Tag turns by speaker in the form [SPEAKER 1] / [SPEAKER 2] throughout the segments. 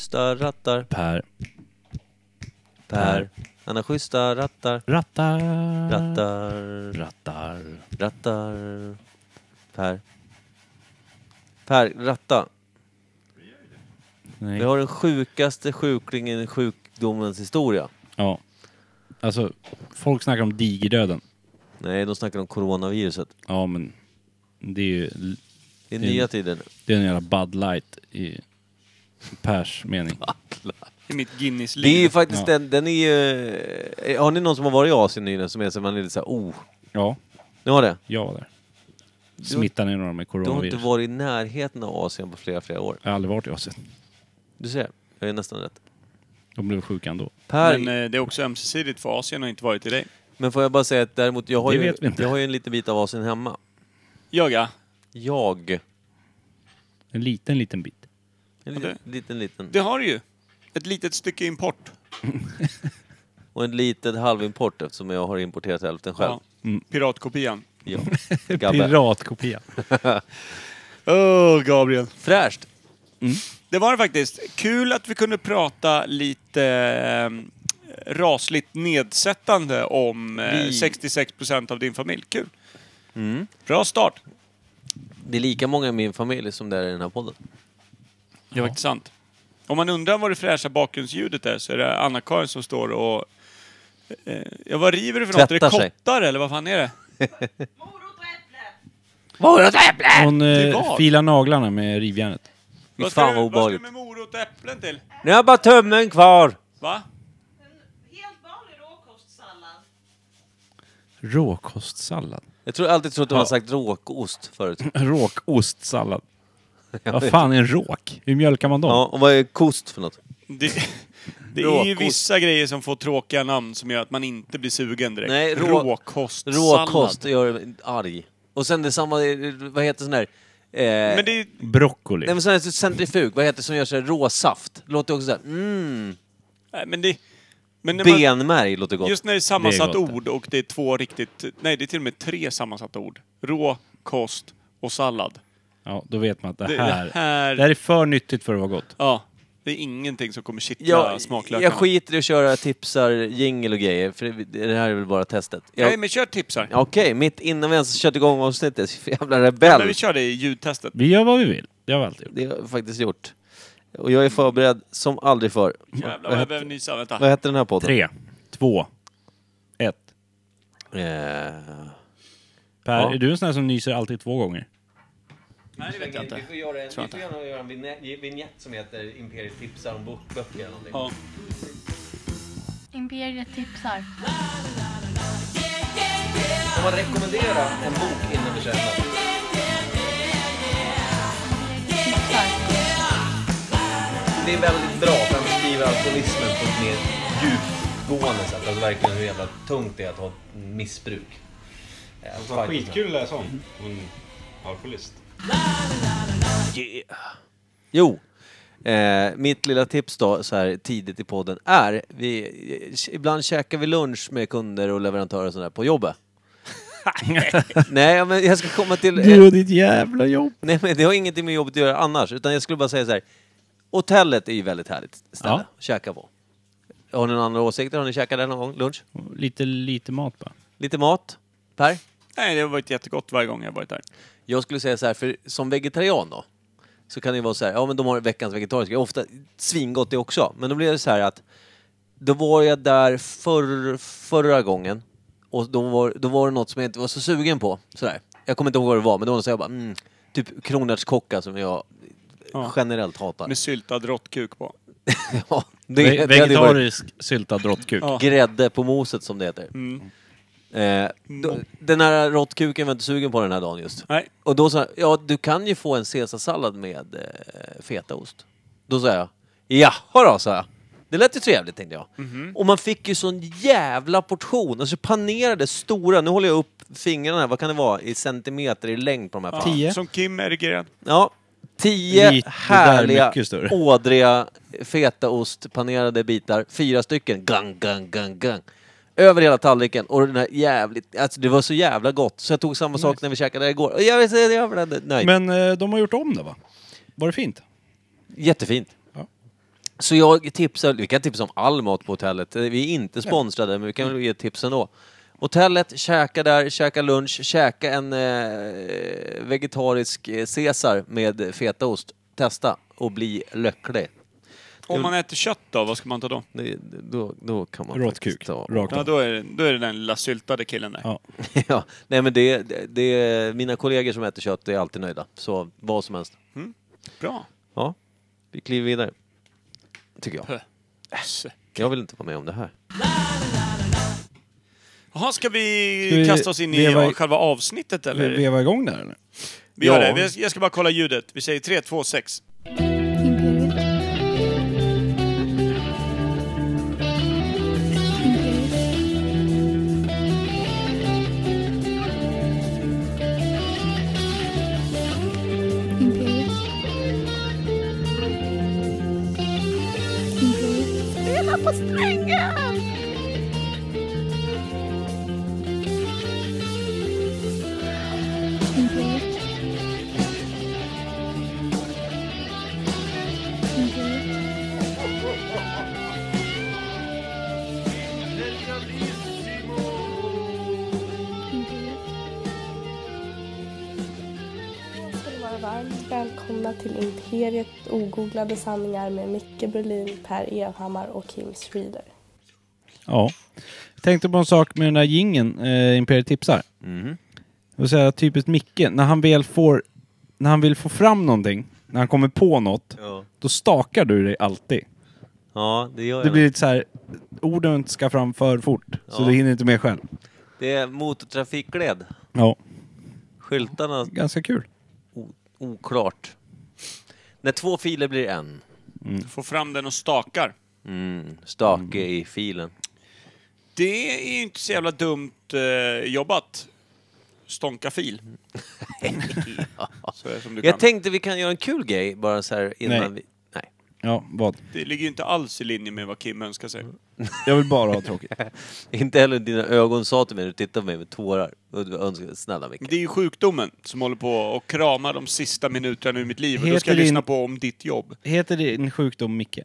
[SPEAKER 1] schyssta rattar.
[SPEAKER 2] Per.
[SPEAKER 1] Per. Han har schyssta rattar.
[SPEAKER 2] Rattar.
[SPEAKER 1] Rattar.
[SPEAKER 2] Rattar.
[SPEAKER 1] Rattar. Per. Per, ratta.
[SPEAKER 2] Nej.
[SPEAKER 1] Vi har den sjukaste sjuklingen i sjukdomens historia.
[SPEAKER 2] Ja. Alltså, folk snackar om digerdöden.
[SPEAKER 1] Nej, de snackar om coronaviruset.
[SPEAKER 2] Ja, men det är ju
[SPEAKER 1] Det är
[SPEAKER 2] Det är-
[SPEAKER 1] nya tider nu.
[SPEAKER 2] det är en jävla Bud Light i Pers mening.
[SPEAKER 3] I mitt
[SPEAKER 1] Det är ju
[SPEAKER 3] Guinness-liv.
[SPEAKER 1] faktiskt
[SPEAKER 2] Ja.
[SPEAKER 1] den, den är ju... eh, Har ni någon som har varit i Asien nyligen som är så man är lite såhär, oh.
[SPEAKER 2] Ja,
[SPEAKER 1] Ni har det?
[SPEAKER 2] jag var där. Smittade ner några med
[SPEAKER 1] Du har inte
[SPEAKER 2] coronavirus.
[SPEAKER 1] varit i närheten av Asien på flera, flera år.
[SPEAKER 2] Jag har aldrig varit i Asien.
[SPEAKER 1] Du ser, jag är nästan rätt.
[SPEAKER 2] De blev sjuka ändå.
[SPEAKER 1] Per,
[SPEAKER 3] Men
[SPEAKER 1] men,
[SPEAKER 3] eh, det är också ömsesidigt för Asien har inte varit i dig.
[SPEAKER 1] får jag bara säga att däremot, jag har,
[SPEAKER 2] Det
[SPEAKER 1] ju,
[SPEAKER 2] vet vi inte.
[SPEAKER 1] jag har ju en liten bit av Asien hemma.
[SPEAKER 3] Jag ja.
[SPEAKER 1] Jag.
[SPEAKER 2] En liten, liten bit.
[SPEAKER 1] En
[SPEAKER 3] Ja,
[SPEAKER 1] liten, liten, liten.
[SPEAKER 3] Det har du ju. Ett litet stycke import.
[SPEAKER 1] Och en liten halvimport eftersom jag har importerat hälften själv. Mm.
[SPEAKER 3] Ja. Piratkopian.
[SPEAKER 1] Ja. Gabbe.
[SPEAKER 2] Piratkopia.
[SPEAKER 3] Åh, Gabriel.
[SPEAKER 1] Fräscht! Mm.
[SPEAKER 3] Det var det faktiskt. Kul att vi kunde prata lite eh, rasligt nedsättande om eh,
[SPEAKER 1] Vi- Mm.
[SPEAKER 3] 66% av din familj. Kul. Bra start.
[SPEAKER 1] Det är lika många i min familj som det är i den här podden.
[SPEAKER 3] Det var faktiskt sant. Om man undrar vad det fräscha bakgrundsljudet är så är det Anna-Karin som står och... Eh, ja, vad river du för något? Är det
[SPEAKER 1] Tvättar sig.
[SPEAKER 3] kottar eller vad fan är det?
[SPEAKER 4] Morot och äpple!
[SPEAKER 2] Hon
[SPEAKER 3] Till
[SPEAKER 2] eh,
[SPEAKER 3] vad?
[SPEAKER 2] filar naglarna med rivjärnet.
[SPEAKER 1] Fy
[SPEAKER 3] ska
[SPEAKER 1] fan
[SPEAKER 3] du-
[SPEAKER 1] vad
[SPEAKER 3] Vad ska
[SPEAKER 1] obehagligt.
[SPEAKER 3] du med morot och äpplen till?
[SPEAKER 1] Nu har jag bara tummen kvar!
[SPEAKER 3] Va?
[SPEAKER 4] En helt vanlig råkostsallad.
[SPEAKER 2] Råkostsallad.
[SPEAKER 1] Jag tror jag alltid trott att de
[SPEAKER 2] Ja.
[SPEAKER 1] har sagt råkost förut.
[SPEAKER 2] Råkostsallad. Vad fan är en råk? Hur mjölkar man dem?
[SPEAKER 1] Ja, och vad är kost för något?
[SPEAKER 3] Det, det är ju
[SPEAKER 1] Råkost.
[SPEAKER 3] vissa grejer som får tråkiga namn som gör att man inte blir sugen direkt.
[SPEAKER 1] Nej, rå-
[SPEAKER 3] Råkostsallad.
[SPEAKER 1] Råkost gör mig arg. Och sen detsamma, vad heter sån här... Eh,
[SPEAKER 3] Men det,
[SPEAKER 2] Broccoli.
[SPEAKER 1] Nej men sån här centrifug, vad heter det som gör såhär råsaft? Låter också såhär, mm.
[SPEAKER 3] nej, men det, men när man,
[SPEAKER 1] Benmärg låter gott.
[SPEAKER 3] just när det är sammansatt
[SPEAKER 2] Det är gott,
[SPEAKER 3] ord och det är två riktigt... Nej, det är till och med tre sammansatta ord. Rå, kost och sallad.
[SPEAKER 2] Ja, då vet man att det
[SPEAKER 3] Det- det
[SPEAKER 2] här, det
[SPEAKER 3] här-
[SPEAKER 2] här... är för nyttigt för att vara gott.
[SPEAKER 3] Ja. Det är ingenting som kommer kittla
[SPEAKER 1] Jag,
[SPEAKER 3] smaklökarna.
[SPEAKER 1] jag skiter i att köra tipsar, jingle och grejer, för det, det här är väl bara testet.
[SPEAKER 3] Nej,
[SPEAKER 1] Jag,
[SPEAKER 3] men kör tipsar.
[SPEAKER 1] Okej, mitt innan vi ens kört igång avsnittet, för jävla
[SPEAKER 3] Men vi
[SPEAKER 1] rebell.
[SPEAKER 3] kör det i ljudtestet.
[SPEAKER 2] Vi gör vad vi vill. Det har vi alltid gjort.
[SPEAKER 1] Det har jag faktiskt gjort. Och jag är förberedd som aldrig förr.
[SPEAKER 3] Jävlar
[SPEAKER 1] Vad
[SPEAKER 3] vad
[SPEAKER 1] het-
[SPEAKER 3] jag behöver nysa.
[SPEAKER 1] Vad
[SPEAKER 3] Vänta.
[SPEAKER 1] heter den här podden?
[SPEAKER 2] Tre, två, ett.
[SPEAKER 1] Eh,
[SPEAKER 2] Per,
[SPEAKER 1] Ja.
[SPEAKER 2] är du en sån här som nyser alltid två gånger?
[SPEAKER 3] Nej, det vet jag inte.
[SPEAKER 1] får göra en,
[SPEAKER 3] Tror inte.
[SPEAKER 1] gärna göra en vignett som heter Imperiet tipsar om böcker eller någonting.
[SPEAKER 3] Ja.
[SPEAKER 5] Imperiet tipsar.
[SPEAKER 1] Får man rekommendera en bok innan vi köper den?
[SPEAKER 5] tipsar.
[SPEAKER 1] Det är väldigt bra för han beskriver alkoholismen på ett mer djupgående sätt. Alltså verkligen hur jävla tungt det är att ha ett missbruk. Eh,
[SPEAKER 6] var skitkul att läsa om. Hon alkoholist.
[SPEAKER 1] Jo. Eh, mitt lilla tips då, så här tidigt i podden, är vi, eh, ibland käkar vi lunch med kunder och leverantörer och sådär på jobbet. Nej, men jag ska komma till... eh,
[SPEAKER 2] och ditt jävla jobb!
[SPEAKER 1] Nej men det har ingenting med jobbet att göra annars, utan jag skulle bara säga så här. Hotellet är ju väldigt härligt ställe
[SPEAKER 2] Ja.
[SPEAKER 1] att käka på. Har ni några andra åsikter? Har ni käkat där någon gång? Lunch?
[SPEAKER 2] Lite, lite mat bara.
[SPEAKER 1] Lite mat? Per?
[SPEAKER 3] Nej, det har varit jättegott varje gång jag har varit där.
[SPEAKER 1] Jag skulle säga så här, för som vegetarian då, så kan det ju vara så här, ja men de har veckans vegetariska, ofta svingott det också, men då blir det så här att då var jag där förr, förra gången och då var, då var det något som jag inte var så sugen på. Sådär. Jag kommer inte ihåg vad det var, men då var det så här, jag bara, mm, typ kronärtskocka som jag
[SPEAKER 3] Ja.
[SPEAKER 1] generellt hatar.
[SPEAKER 3] Med syltad råttkuk på.
[SPEAKER 1] Ja, det,
[SPEAKER 2] Ve-
[SPEAKER 1] det hade ju varit
[SPEAKER 2] Vegetarisk syltad råttkuk.
[SPEAKER 3] Ja.
[SPEAKER 1] grädde på moset som det heter. Eh, då, den här råttkuken var jag inte sugen på den här dagen just.
[SPEAKER 3] Nej.
[SPEAKER 1] Och då sa han, ja du kan ju få en caesarsallad med eh, fetaost. Då sa jag, jaha då sa jag. Det lät ju trevligt tänkte jag. Och man fick ju sån jävla portion, alltså panerade stora, nu håller jag upp fingrarna här, vad kan det vara i centimeter i längd på de här? Ja,
[SPEAKER 2] Tio.
[SPEAKER 3] Som Kim Ergren.
[SPEAKER 1] ja tio
[SPEAKER 2] Lite där,
[SPEAKER 1] härliga,
[SPEAKER 2] mycket större.
[SPEAKER 1] ådriga fetaost panerade bitar, fyra stycken, gang, gang, gang, gang. Över hela tallriken och den här jävligt, alltså det var så jävla gott så jag tog samma sak när vi käkade där igår. Och Jag är så jävla nöjd.
[SPEAKER 2] Men eh, de har gjort om det va? Var det fint?
[SPEAKER 1] Jättefint.
[SPEAKER 2] Ja.
[SPEAKER 1] Så jag tipsar, vi kan tipsa om all mat på hotellet. Eh, Vi är inte sponsrade, men vi kan väl ge tips ändå. Hotellet, käka där, käka lunch, käka en eh, vegetarisk eh, Caesar med fetaost. Testa och bli lycklig.
[SPEAKER 3] Om man äter kött då, vad ska man ta då?
[SPEAKER 1] Det- Då, då kan man
[SPEAKER 2] Rått
[SPEAKER 1] faktiskt
[SPEAKER 2] kuk.
[SPEAKER 1] ta...
[SPEAKER 2] Rakt
[SPEAKER 3] Ja,
[SPEAKER 2] av.
[SPEAKER 3] då är, det- då är det den lilla syltade killen där.
[SPEAKER 2] Ja.
[SPEAKER 1] ja, nej men det, det, det, mina kollegor som äter kött är alltid nöjda. Så vad som helst.
[SPEAKER 3] Bra.
[SPEAKER 1] Ja, vi kliver vidare. Tycker jag.
[SPEAKER 3] Ässe.
[SPEAKER 1] Jag vill inte vara med om det här.
[SPEAKER 3] Jaha, ska vi,
[SPEAKER 2] Ska vi
[SPEAKER 3] kasta oss in i
[SPEAKER 2] veva i-
[SPEAKER 3] själva avsnittet eller?
[SPEAKER 2] Vi
[SPEAKER 3] Vi,
[SPEAKER 2] veva igång där eller?
[SPEAKER 3] gör
[SPEAKER 1] Ja.
[SPEAKER 3] det. Vi- Jag ska bara kolla ljudet. Vi säger 3, 2, 6.
[SPEAKER 5] Imperiet. Imperiet. Imperiet. Imperiet. Spela på strängen! Imperiet. Imperiet.
[SPEAKER 7] ska ni vara varmt välkomna till Imperiet ogooglade sanningar med Micke Berlin, Per Evhammar och Kim Schreeder.
[SPEAKER 2] Ja. Jag tänkte på en sak med den där gingen eh, Imperiet tipsar. Det var så här, typiskt Micke, när han väl får, när han vill få fram någonting, när han kommer på något,
[SPEAKER 1] Ja,
[SPEAKER 2] då stakar du dig alltid.
[SPEAKER 1] ja det gör
[SPEAKER 2] Det
[SPEAKER 1] jag.
[SPEAKER 2] blir lite så här, orden ska fram för fort, så
[SPEAKER 1] Ja.
[SPEAKER 2] du hinner inte med själv.
[SPEAKER 1] Det är motortrafikled.
[SPEAKER 2] Ja,
[SPEAKER 1] Skyltarna
[SPEAKER 2] ganska kul.
[SPEAKER 1] o- oklart. När två filer blir en.
[SPEAKER 3] Få fram den och stakar.
[SPEAKER 1] Mm, stake i filen.
[SPEAKER 3] Det är ju inte så jävla dumt eh, jobbat. Stånka fil. så är det som du kan.
[SPEAKER 1] Jag tänkte vi kan göra en kul grej bara så här innan
[SPEAKER 2] Nej.
[SPEAKER 1] vi... Nej.
[SPEAKER 2] Ja, vad?
[SPEAKER 3] Det ligger ju inte alls i linje med vad Kim önskar sig.
[SPEAKER 2] Jag vill bara ha tråkigt.
[SPEAKER 1] Inte heller dina ögon sa till mig när du tittade på mig med tårar. Och du önskade, snälla
[SPEAKER 3] Men
[SPEAKER 1] Micke.
[SPEAKER 3] Det är ju sjukdomen som håller på och kramar de sista minuterna ur mitt liv. Och då
[SPEAKER 2] Heter
[SPEAKER 3] ska jag
[SPEAKER 2] din-
[SPEAKER 3] lyssna på om ditt jobb.
[SPEAKER 2] Heter din sjukdom Micke?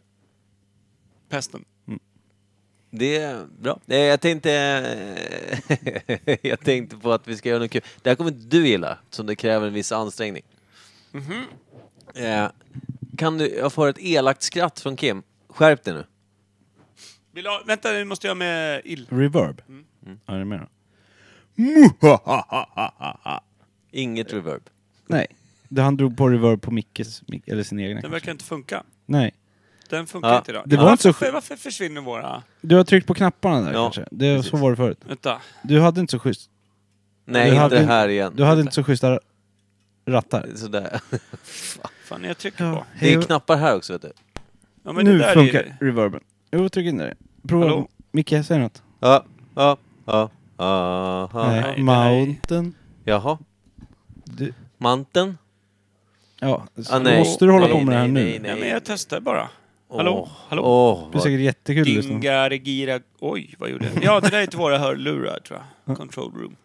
[SPEAKER 3] Pesten.
[SPEAKER 1] Det är bra. Eh, Jag tänkte... jag tänkte på att vi ska göra något kul. Det här kommer inte du gilla, som det kräver en viss ansträngning. Eh, kan du... Jag får ett elakt skratt från Kim. Skärp dig nu.
[SPEAKER 3] Vill du ha... Vänta, nu måste jag med ill.
[SPEAKER 2] Reverb? Ja, det är med då.
[SPEAKER 1] Inget reverb.
[SPEAKER 2] Nej. Det han drog på reverb på Mickes, mic- eller sin egna.
[SPEAKER 3] Den verkar inte funka.
[SPEAKER 2] Nej.
[SPEAKER 3] Den funkar
[SPEAKER 1] Ja,
[SPEAKER 3] inte idag.
[SPEAKER 2] det var inte så
[SPEAKER 3] varför,
[SPEAKER 2] sjuk-
[SPEAKER 3] varför försvinner våra...
[SPEAKER 2] Du har tryckt på knapparna där
[SPEAKER 1] Ja,
[SPEAKER 2] kanske? Det, så var det förut.
[SPEAKER 3] Vänta.
[SPEAKER 2] Du hade inte så schysst.
[SPEAKER 1] Nej,
[SPEAKER 2] du
[SPEAKER 1] inte
[SPEAKER 2] hade,
[SPEAKER 1] här igen.
[SPEAKER 2] Du hade inte så schyssta rattar.
[SPEAKER 1] Sådär.
[SPEAKER 3] Fan, jag trycker på.
[SPEAKER 1] Det är
[SPEAKER 2] hej.
[SPEAKER 1] knappar här också, vet du.
[SPEAKER 3] Ja, men
[SPEAKER 2] nu
[SPEAKER 3] det där
[SPEAKER 2] funkar
[SPEAKER 3] Är... ju-
[SPEAKER 2] reverben. Jo, tryck in där. Prova.
[SPEAKER 3] Hallå?
[SPEAKER 2] Micke, säg något.
[SPEAKER 1] Ja, ja, ja, ja,
[SPEAKER 2] nej.
[SPEAKER 1] ja.
[SPEAKER 3] nej, det här är-
[SPEAKER 2] Mountain.
[SPEAKER 1] Jaha.
[SPEAKER 2] Du,
[SPEAKER 1] Manten?
[SPEAKER 2] ja, så
[SPEAKER 1] Ah, nej.
[SPEAKER 2] måste du hålla på med
[SPEAKER 1] Nej,
[SPEAKER 2] det här
[SPEAKER 1] nej,
[SPEAKER 2] nu?
[SPEAKER 1] nej,
[SPEAKER 3] Nej, men jag testar bara.
[SPEAKER 1] Åh,
[SPEAKER 3] Hallå? Hallå?
[SPEAKER 1] Åh,
[SPEAKER 2] Det är säkert jättekul att lyssna på.
[SPEAKER 3] Dinga, regira... Oj, vad gjorde jag? Ja, det där är till våra hörlurar, tror jag. Control room.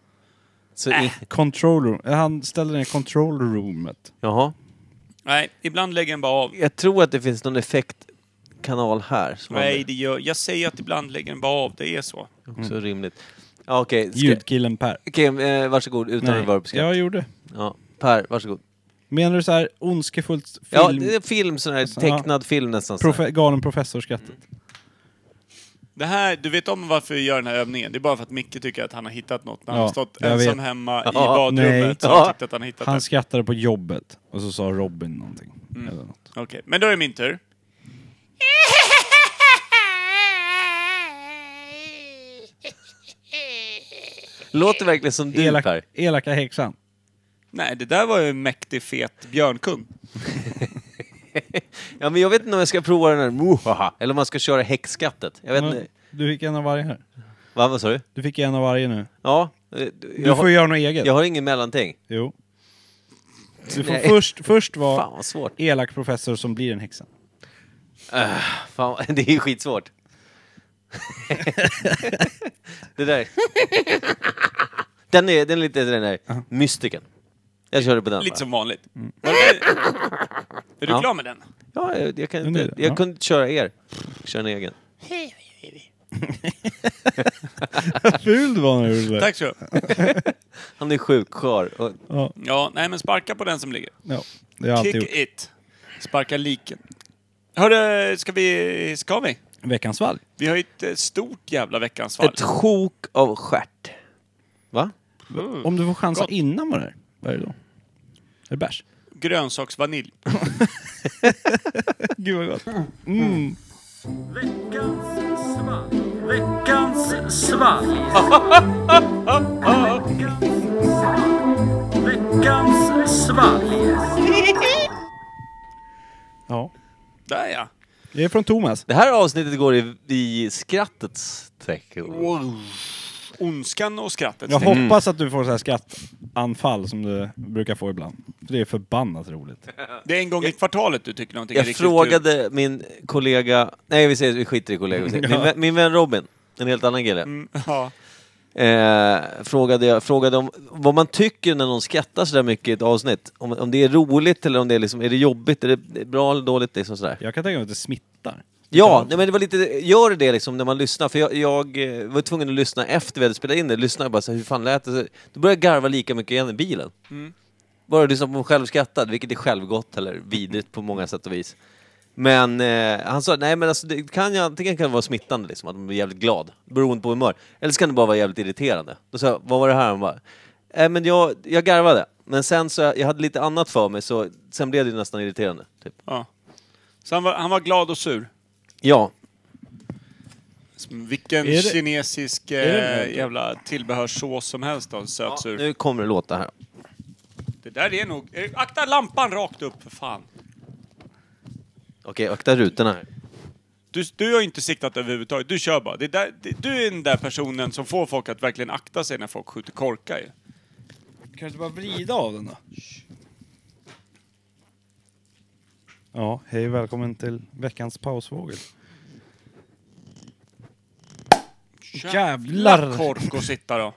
[SPEAKER 1] så in...
[SPEAKER 2] Control room. Han ställde ner control roomet.
[SPEAKER 1] Jaha.
[SPEAKER 3] Nej, ibland lägger den bara av.
[SPEAKER 1] Jag tror att det finns någon effektkanal här. Som
[SPEAKER 3] Nej, det Mm. gör... Jag säger att ibland lägger den bara av. Det är så.
[SPEAKER 1] är också rimligt. Ja, Okej, ska-
[SPEAKER 2] Ljudkillen Per.
[SPEAKER 1] Okej, eh, varsågod. Utan reverb. ska-
[SPEAKER 2] jag gjorde.
[SPEAKER 1] Ja. Per, varsågod.
[SPEAKER 2] Menar du så här ondskefullt film?
[SPEAKER 1] Ja, det är film, sån här
[SPEAKER 2] Alltså,
[SPEAKER 1] tecknad film nästan. så här. Mm,
[SPEAKER 2] Profe galen professorskrattet.
[SPEAKER 3] Det här, du vet om varför vi gör den här övningen? Det är bara för att Micke tycker att han har hittat något när han
[SPEAKER 2] Ja,
[SPEAKER 3] har stått
[SPEAKER 2] jag
[SPEAKER 3] ensam
[SPEAKER 2] vet.
[SPEAKER 3] hemma i
[SPEAKER 1] Ja,
[SPEAKER 2] nej.
[SPEAKER 3] badrummet. Så
[SPEAKER 1] Ja.
[SPEAKER 3] han tyckte att han har hittat
[SPEAKER 2] Han
[SPEAKER 3] det.
[SPEAKER 2] skrattade på jobbet och så sa Robin någonting.
[SPEAKER 1] Mm.
[SPEAKER 2] Eller något.
[SPEAKER 3] Okej, men då är det min tur.
[SPEAKER 1] Låter verkligen som du,
[SPEAKER 2] Elak,
[SPEAKER 1] Per.
[SPEAKER 2] elaka häxan.
[SPEAKER 3] Nej, det där var ju en mäktig fet björnkung.
[SPEAKER 1] Ja, men jag vet inte om jag ska prova den här mohaha, eller om man ska köra häxskattet. Jag vet
[SPEAKER 2] Men,
[SPEAKER 1] inte.
[SPEAKER 2] du fick en av varje här.
[SPEAKER 1] Va, vad sa du?
[SPEAKER 2] Du fick en av varje nu.
[SPEAKER 1] Ja. eh,
[SPEAKER 2] Du
[SPEAKER 1] Jag,
[SPEAKER 2] får
[SPEAKER 1] har-
[SPEAKER 2] göra något eget.
[SPEAKER 1] jag har ingen mellanting.
[SPEAKER 2] Jo. Du får
[SPEAKER 1] Nej.
[SPEAKER 2] först, först vara
[SPEAKER 1] Fan vad svårt.
[SPEAKER 2] elak professor som blir en häxa.
[SPEAKER 1] Fan, det är ju skitsvårt. det där. den, är, den är lite den där mystiken. Jag körde på den.
[SPEAKER 3] Lite
[SPEAKER 1] va?
[SPEAKER 2] Mm.
[SPEAKER 3] som vanligt. Är du klar med den?
[SPEAKER 1] Ja, jag, jag kan
[SPEAKER 2] Men det-
[SPEAKER 1] inte... Jag
[SPEAKER 2] ja.
[SPEAKER 1] kunde inte köra er. Köra en egen.
[SPEAKER 2] Vad ful du var när du gjorde det.
[SPEAKER 3] Tack så
[SPEAKER 1] Han är sjukskör. och-
[SPEAKER 2] Ja,
[SPEAKER 3] Ja, nej men sparka på den som ligger.
[SPEAKER 2] ja, det har jag alltid
[SPEAKER 3] Kick
[SPEAKER 2] gjort.
[SPEAKER 3] it. Sparka liken. Hörru, ska vi... Ska vi?
[SPEAKER 2] Veckans valg.
[SPEAKER 3] Vi har ju ett eh, stort jävla veckans fall.
[SPEAKER 1] Ett sjok av stjärt. Va?
[SPEAKER 2] Om du får chansa
[SPEAKER 3] Gott.
[SPEAKER 2] innan vad det är, vad är det då? Är det bärs?
[SPEAKER 3] Grönsaksvanilj.
[SPEAKER 2] Gud vad gott. Ja.
[SPEAKER 3] Där ja.
[SPEAKER 2] Det är från Thomas.
[SPEAKER 1] Det här avsnittet går i, i skrattets tecken.
[SPEAKER 3] Ondskan och skrattet.
[SPEAKER 2] Jag hoppas att du får så här skattanfall som du brukar få ibland. För det är förbannat roligt.
[SPEAKER 3] Det är en gång i kvartalet du tycker någonting är
[SPEAKER 1] Jag
[SPEAKER 3] riktigt kul.
[SPEAKER 1] frågade min kollega... Nej, vi, säger, vi skiter i kollegor. vi säger- Min, vän- min vän Robin, en helt annan kille.
[SPEAKER 3] Mm, Ja.
[SPEAKER 1] Eh, frågade jag frågade om vad man tycker när någon skrattar sådär mycket i ett avsnitt. Om, om det är roligt eller om det är, liksom, är det jobbigt, är det bra eller dåligt liksom sådär.
[SPEAKER 2] Jag kan tänka mig att det smittar.
[SPEAKER 1] Ja, nej, men det var lite, gör det det liksom när man lyssnar? För jag, jag eh, var tvungen att lyssna efter vi hade spelat in det. Lyssna bara så här, hur fan lät det? Så, då började jag garva lika mycket igen i bilen. Bara lyssna på mig själv skrattad, vilket är självgott eller vidrigt på många sätt och vis. Men eh, han sa, nej men alltså, det kan ju antingen kan det vara smittande liksom, att man blir jävligt glad, beroende på humör. Eller så kan det bara vara jävligt irriterande. Då sa jag, vad var det här? Han bara, nej men jag, jag garvade. Men sen så, jag hade lite annat för mig så, sen blev det ju nästan irriterande. Typ.
[SPEAKER 3] ja. Så han var, han var glad och sur.
[SPEAKER 1] Ja,
[SPEAKER 3] Som Vilken
[SPEAKER 2] Är det-
[SPEAKER 3] kinesisk
[SPEAKER 2] är det-
[SPEAKER 3] eh, jävla tillbehörssås som helst av sötsur.
[SPEAKER 1] nu kommer det låta här.
[SPEAKER 3] det där är nog... eh, Akta lampan rakt upp för fan.
[SPEAKER 1] Okej, akta rutorna här.
[SPEAKER 3] Du, du har ju inte siktat överhuvudtaget, du kör bara. Det där, det, du är den där personen som får folk att verkligen akta sig när folk skjuter korkar ju.
[SPEAKER 2] Kan du inte bara vrida av den då? Ja, hej och välkommen till veckans pausfågel. Jävlar!
[SPEAKER 3] kork och sitta då.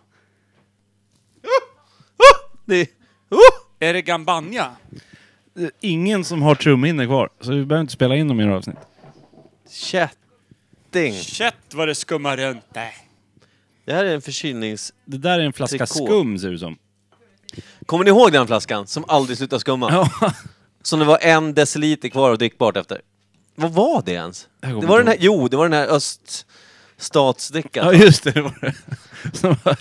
[SPEAKER 1] Det är...
[SPEAKER 3] Är det Gambanja?
[SPEAKER 2] Det är Ingen som har trumhinnor kvar, så vi behöver inte spela in dem i några avsnitt.
[SPEAKER 1] Kätting!
[SPEAKER 3] Shit vad det skummar runt där.
[SPEAKER 1] Det här är en förkylnings...
[SPEAKER 2] Det där är en flaska
[SPEAKER 1] Trikå.
[SPEAKER 2] skum ser det ut som.
[SPEAKER 1] Kommer ni ihåg den flaskan som aldrig slutade skumma? Som det var en deciliter kvar och drickbart efter. Vad var det ens?
[SPEAKER 2] Jag
[SPEAKER 1] Det
[SPEAKER 2] kommer
[SPEAKER 1] var den
[SPEAKER 2] inte
[SPEAKER 1] här, jo, det var den här öststatsdrickan.
[SPEAKER 2] Ja just det, det var det. Som var-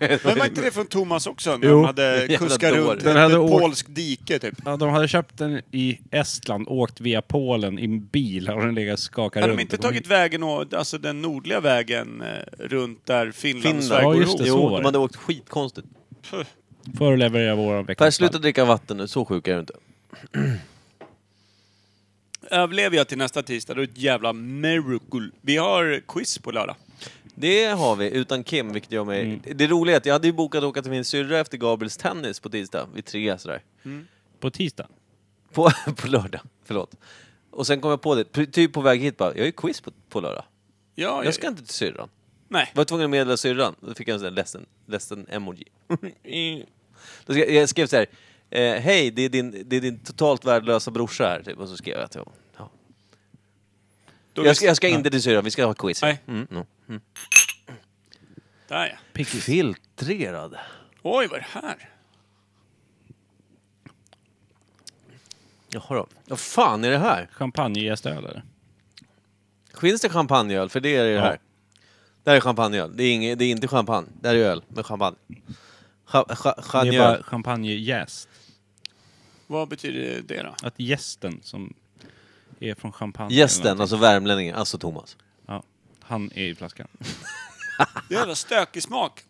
[SPEAKER 3] Men var inte det från Thomas också? När
[SPEAKER 2] Jo.
[SPEAKER 3] han hade
[SPEAKER 1] Jävla
[SPEAKER 3] kuskat
[SPEAKER 1] dår.
[SPEAKER 3] runt
[SPEAKER 2] Den
[SPEAKER 3] i
[SPEAKER 2] hade
[SPEAKER 3] ett
[SPEAKER 2] åkt-
[SPEAKER 3] polskt dike typ.
[SPEAKER 2] Ja, de hade köpt den i Estland, åkt via Polen i en bil och den legat och skakat
[SPEAKER 3] Hade
[SPEAKER 2] runt.
[SPEAKER 3] de inte
[SPEAKER 2] och kom
[SPEAKER 3] tagit
[SPEAKER 2] hit.
[SPEAKER 3] vägen, och, alltså den nordliga vägen eh, runt där Finland, och
[SPEAKER 1] Finland.
[SPEAKER 3] Sverige
[SPEAKER 2] Ja,
[SPEAKER 3] går
[SPEAKER 2] just
[SPEAKER 3] ihop?
[SPEAKER 2] det, så
[SPEAKER 1] jo,
[SPEAKER 2] var
[SPEAKER 1] de
[SPEAKER 2] det.
[SPEAKER 1] hade åkt skitkonstigt.
[SPEAKER 3] Puh.
[SPEAKER 2] För att leverera vår
[SPEAKER 1] Per,
[SPEAKER 2] veckans
[SPEAKER 1] sluta dricka vatten nu. Så sjuk är du inte.
[SPEAKER 3] Överlever jag till nästa tisdag, då är det ett jävla miracle. Vi har quiz på lördag.
[SPEAKER 1] Det har vi, utan Kim, vilket gör mig...
[SPEAKER 2] Mm.
[SPEAKER 1] Det roliga är att jag hade ju bokat att åka till min syrra efter Gabriels tennis på tisdag, vid tre sådär.
[SPEAKER 2] På tisdag.
[SPEAKER 1] På, på lördag, förlåt. Och sen kom jag på det, p- typ på väg hit bara, jag har ju quiz på, på lördag.
[SPEAKER 3] Ja,
[SPEAKER 1] Jag ska inte till syrran.
[SPEAKER 3] Nej.
[SPEAKER 1] Var tvungen att meddela syrran. Då fick jag en sån där ledsen, ledsen emoji. Då skrev, jag skrev så här, eh, hej det är, din, det är din totalt värdelösa brorsa här. Typ. Och så skrev jag till honom. Ja.
[SPEAKER 3] Då
[SPEAKER 1] Jag, ska,
[SPEAKER 3] visst-
[SPEAKER 1] jag ska inte till syrran, vi ska ha quiz.
[SPEAKER 3] Nej.
[SPEAKER 1] Mm, mm.
[SPEAKER 3] Där ja.
[SPEAKER 1] Filtrerad.
[SPEAKER 3] Oj, vad är det här?
[SPEAKER 1] Jaha då. Vad fan är det här?
[SPEAKER 2] Champagnejästöl eller?
[SPEAKER 1] Finns det champagneöl? För det är det
[SPEAKER 2] Ja.
[SPEAKER 1] här. Det här är champagneöl. Det är, inget, det är inte champagne. Det här är öl med champagne. Cha, cha,
[SPEAKER 2] Det är
[SPEAKER 1] champagneöl.
[SPEAKER 2] bara champagnejäst.
[SPEAKER 3] Vad betyder det då?
[SPEAKER 2] Att gästen som är från champagne. eller
[SPEAKER 1] Gästen,
[SPEAKER 2] någonting.
[SPEAKER 1] alltså värmlänningen, alltså Thomas.
[SPEAKER 2] Ja, han är i flaskan.
[SPEAKER 3] Jävla stökig smak.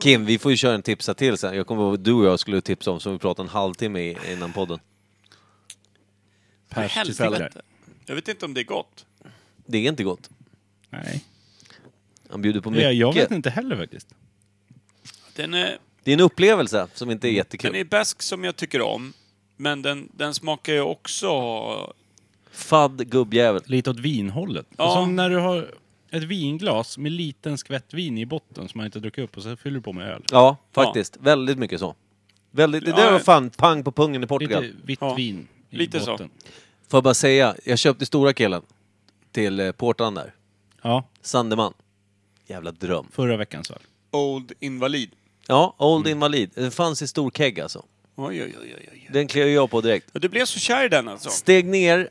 [SPEAKER 1] Kim, vi får ju köra en tipsa till sen. Jag kommer ihåg vad du och jag skulle tipsa om som vi pratade en halvtimme i- innan podden.
[SPEAKER 2] Pers till sallad.
[SPEAKER 3] Helvete. Jag vet inte om det är gott.
[SPEAKER 1] Det är inte gott.
[SPEAKER 2] Nej.
[SPEAKER 1] Han bjuder på mycket.
[SPEAKER 2] Jag, jag vet inte heller faktiskt.
[SPEAKER 3] Den är,
[SPEAKER 1] Det är en upplevelse som
[SPEAKER 2] Mm.
[SPEAKER 1] inte är jättekul.
[SPEAKER 3] den är bäsk som jag tycker om, men den, den smakar ju också...
[SPEAKER 1] Fadd gubbjävel.
[SPEAKER 2] Lite åt vinhållet.
[SPEAKER 3] Ja.
[SPEAKER 2] Som när du har ett vinglas med liten skvätt vin i botten som man inte druckit upp och sen fyller du på med öl.
[SPEAKER 1] Ja, faktiskt. Väldigt mycket så. Väldigt, det
[SPEAKER 3] Ja,
[SPEAKER 1] där var
[SPEAKER 3] ja.
[SPEAKER 1] fan pang på pungen i Portugal.
[SPEAKER 2] Lite vitt
[SPEAKER 3] Ja.
[SPEAKER 2] vin. i
[SPEAKER 3] Lite så.
[SPEAKER 2] botten.
[SPEAKER 1] Får jag bara säga, jag köpte stora killen till eh, portan där.
[SPEAKER 2] Ja,
[SPEAKER 1] Sandeman. Jävla dröm.
[SPEAKER 2] förra veckans väl.
[SPEAKER 3] Old Invalid.
[SPEAKER 1] Ja, Old
[SPEAKER 2] Mm.
[SPEAKER 1] Invalid. Den fanns i stor keg alltså.
[SPEAKER 3] Oj, oj, oj, oj, oj.
[SPEAKER 1] Den klev jag på direkt.
[SPEAKER 3] Ja, Du blev så kär i den alltså?
[SPEAKER 1] Steg ner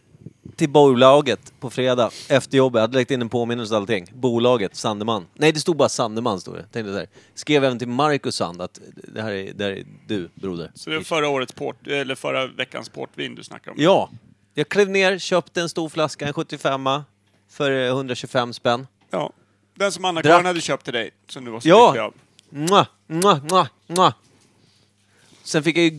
[SPEAKER 1] till bolaget på fredag efter jobbet. Jag hade lagt in en påminnelse och allting. Bolaget, Sandeman. Nej, det stod bara Sandeman. Stod det. Tänkte där. Skrev även till Marcus Sand att det här är, det här är du, broder.
[SPEAKER 3] Så det var förra årets port, eller förra veckans portvin du snackade om?
[SPEAKER 1] Ja. Jag klev ner, köpte en stor flaska, en 75a, för eh, 125 spänn.
[SPEAKER 3] Ja. Den som
[SPEAKER 1] Drack.
[SPEAKER 3] Anna-Karin hade köpt till dig, som du var så
[SPEAKER 1] Ja.
[SPEAKER 3] lycklig av.
[SPEAKER 1] Mwah, mwah, mwah, mwah. Sen fick jag ju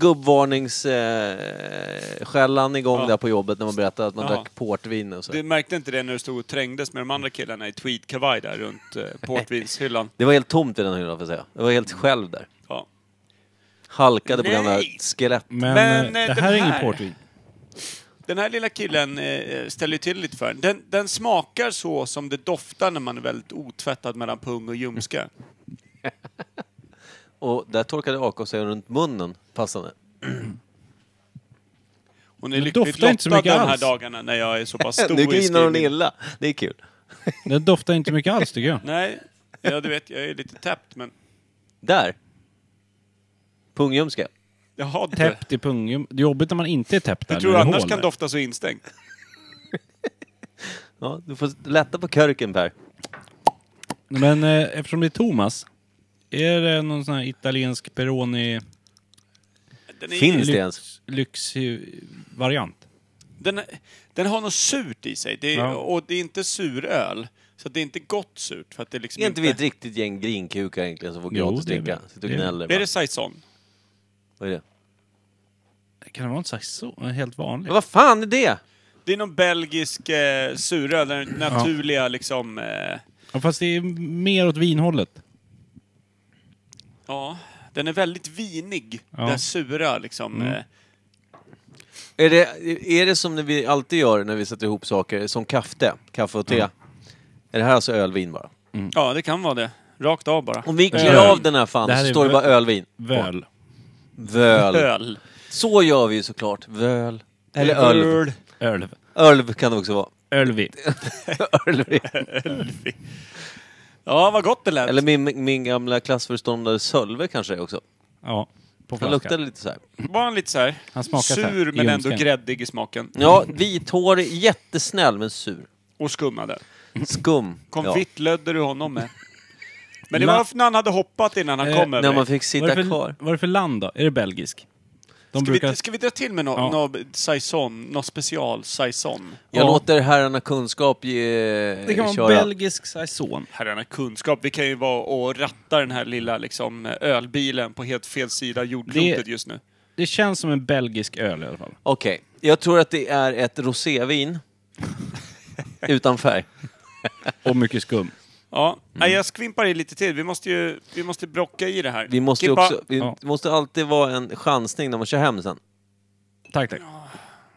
[SPEAKER 1] gubbvarningsskällan eh, skällan igång
[SPEAKER 3] Ja.
[SPEAKER 1] där på jobbet när man berättade att man
[SPEAKER 3] Ja.
[SPEAKER 1] drack portvin och så.
[SPEAKER 3] Du märkte inte det när du stod och trängdes med de andra killarna i tweedkavaj där runt eh, portvinshyllan?
[SPEAKER 1] Det var helt tomt i den hyllan får jag säga. Jag var helt själv där.
[SPEAKER 3] Ja.
[SPEAKER 1] Halkade på
[SPEAKER 3] Nej.
[SPEAKER 1] gamla skelett.
[SPEAKER 2] Men,
[SPEAKER 3] Men,
[SPEAKER 2] eh,
[SPEAKER 3] eh,
[SPEAKER 2] det
[SPEAKER 3] den
[SPEAKER 2] här är ingen
[SPEAKER 3] här-
[SPEAKER 2] portvin.
[SPEAKER 3] Den här lilla killen eh, ställer ju till lite för en. den. Den smakar så som det doftar när man är väldigt otvättad mellan pung och ljumske.
[SPEAKER 1] Och där torkade AK sig runt munnen passande.
[SPEAKER 3] Hon är
[SPEAKER 2] doftar
[SPEAKER 3] lyckligt
[SPEAKER 2] inte så
[SPEAKER 3] lottad
[SPEAKER 2] mycket
[SPEAKER 3] de här
[SPEAKER 2] alls.
[SPEAKER 3] dagarna när jag är så pass stor
[SPEAKER 1] nu
[SPEAKER 3] i
[SPEAKER 1] grinar hon
[SPEAKER 3] skrivning.
[SPEAKER 1] illa. Det är kul.
[SPEAKER 2] Den doftar inte mycket alls tycker jag.
[SPEAKER 3] Nej, ja du vet, jag är lite täppt men...
[SPEAKER 1] Där. Pungjumska.
[SPEAKER 3] Jaha du.
[SPEAKER 2] Täppt i pungen. Det är jobbigt när man inte är täppt där.
[SPEAKER 3] Hur tror
[SPEAKER 2] när
[SPEAKER 3] du
[SPEAKER 2] det är
[SPEAKER 3] annars
[SPEAKER 2] hål
[SPEAKER 3] kan
[SPEAKER 2] där.
[SPEAKER 3] dofta så instängt?
[SPEAKER 1] Ja, du får lätta på körken Per.
[SPEAKER 2] Men eh, eftersom det är Thomas, är det någon sån här italiensk Peroni
[SPEAKER 3] Den, är,
[SPEAKER 1] Finns det ens?
[SPEAKER 2] lyx, lyxig variant?
[SPEAKER 3] den, den har något surt i sig. Det är,
[SPEAKER 2] Ja.
[SPEAKER 3] Och det är inte suröl. Så det är inte gott surt. För att det är liksom
[SPEAKER 1] Är inte vi ett riktigt gäng grinkukar egentligen som får
[SPEAKER 2] Jo,
[SPEAKER 1] gratis
[SPEAKER 2] det är vi.
[SPEAKER 1] dricka? Sitter och
[SPEAKER 2] Det är vi.
[SPEAKER 1] gnäller
[SPEAKER 3] Är
[SPEAKER 1] bara.
[SPEAKER 3] det saison?
[SPEAKER 1] Vad är det?
[SPEAKER 2] Kan det vara en saison? En helt vanlig?
[SPEAKER 1] Men vad fan är det?
[SPEAKER 3] Det är någon belgisk eh, suröl. Den naturliga liksom... Eh,
[SPEAKER 2] Ja, fast det är mer åt vinhållet.
[SPEAKER 3] ja. Den är väldigt vinig.
[SPEAKER 2] Ja. Mm.
[SPEAKER 3] Den sura liksom. Eh,
[SPEAKER 1] Är det, är det som när vi alltid gör när vi sätter ihop saker, som kaffe, kaffe och te?
[SPEAKER 2] Mm.
[SPEAKER 1] Är det här alltså ölvin bara?
[SPEAKER 3] ja, det kan vara det. Rakt av bara.
[SPEAKER 1] Om vi klär
[SPEAKER 2] Öl.
[SPEAKER 1] av den här fan
[SPEAKER 2] Det här
[SPEAKER 1] så
[SPEAKER 2] är
[SPEAKER 1] står det bara
[SPEAKER 2] vö-
[SPEAKER 1] ölvin. på.
[SPEAKER 2] Väl.
[SPEAKER 1] Völ.
[SPEAKER 3] Öl.
[SPEAKER 1] Så gör vi ju såklart. Völ. Eller ölv.
[SPEAKER 2] Ölv.
[SPEAKER 1] Ölv kan det också vara.
[SPEAKER 2] Ölvi.
[SPEAKER 1] Ölvin.
[SPEAKER 3] Ja, vad gott det lät.
[SPEAKER 1] Eller min, min gamla klassföreståndare Sölve kanske det också.
[SPEAKER 2] Ja. På
[SPEAKER 1] Han
[SPEAKER 2] flaska.
[SPEAKER 1] luktade lite så här.
[SPEAKER 3] Var han lite så här
[SPEAKER 2] Han smakar så här,
[SPEAKER 3] sur
[SPEAKER 2] i
[SPEAKER 3] men ändå
[SPEAKER 2] ljumsken.
[SPEAKER 3] gräddig i smaken.
[SPEAKER 1] Ja, vithårig, jättesnäll men sur.
[SPEAKER 3] Och skummade.
[SPEAKER 1] Skum.
[SPEAKER 3] Konfitt lödde du honom med. Men det
[SPEAKER 2] La-
[SPEAKER 3] var för när han hade hoppat innan han
[SPEAKER 2] Eh,
[SPEAKER 3] kom
[SPEAKER 1] Ja. När
[SPEAKER 3] över dig.
[SPEAKER 1] man fick
[SPEAKER 2] Vad är
[SPEAKER 1] sitta
[SPEAKER 2] det för-
[SPEAKER 1] kvar.
[SPEAKER 2] Vad är det för land då? Är det belgisk? De
[SPEAKER 3] Ska,
[SPEAKER 2] brukar...
[SPEAKER 3] vi, ska vi dra till med någon
[SPEAKER 2] Ja.
[SPEAKER 3] no, saison, någon special saison?
[SPEAKER 1] Jag
[SPEAKER 2] Ja.
[SPEAKER 1] låter herrarna kunskap ge,
[SPEAKER 2] det kan vara
[SPEAKER 1] köra.
[SPEAKER 2] belgisk saison.
[SPEAKER 3] Herrarna kunskap, vi kan ju vara och ratta den här lilla liksom, ölbilen på helt fel sida jordklotet
[SPEAKER 2] Det-
[SPEAKER 3] just nu.
[SPEAKER 2] Det känns som en belgisk öl i alla fall.
[SPEAKER 1] Okej, jag tror att det är ett rosévin. Utan färg.
[SPEAKER 2] Och mycket skum.
[SPEAKER 3] Ja,
[SPEAKER 1] Mm.
[SPEAKER 3] Nej, jag skvimpar i lite till. Vi måste ju vi måste brocka i det här.
[SPEAKER 1] Vi måste ju
[SPEAKER 3] Kippa,
[SPEAKER 1] också, vi
[SPEAKER 2] Ja.
[SPEAKER 1] måste alltid vara en chansning när man kör hem sen.
[SPEAKER 2] Tack, tack.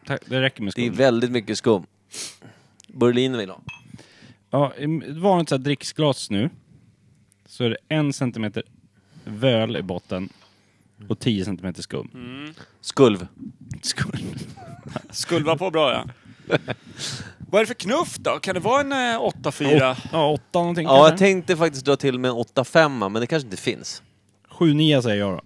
[SPEAKER 2] tack det räcker med
[SPEAKER 1] Det är
[SPEAKER 3] Mm.
[SPEAKER 2] skum.
[SPEAKER 1] väldigt mycket skum. Berlin vill ha.
[SPEAKER 2] Ja, i ett vanligt så här dricksglas nu så är det en centimeter völ i botten och 10 centimeter skum.
[SPEAKER 1] Mm. Skulv.
[SPEAKER 2] Skum.
[SPEAKER 3] Skulva på bra ja. Vad är det för knuff då? Kan det vara en eh, 8-4?
[SPEAKER 2] Ja, åtta någonting
[SPEAKER 1] Ja, jag
[SPEAKER 2] kanske.
[SPEAKER 1] tänkte faktiskt dra till med en 8-5 men det kanske inte finns.
[SPEAKER 2] Sju, nio säger jag då.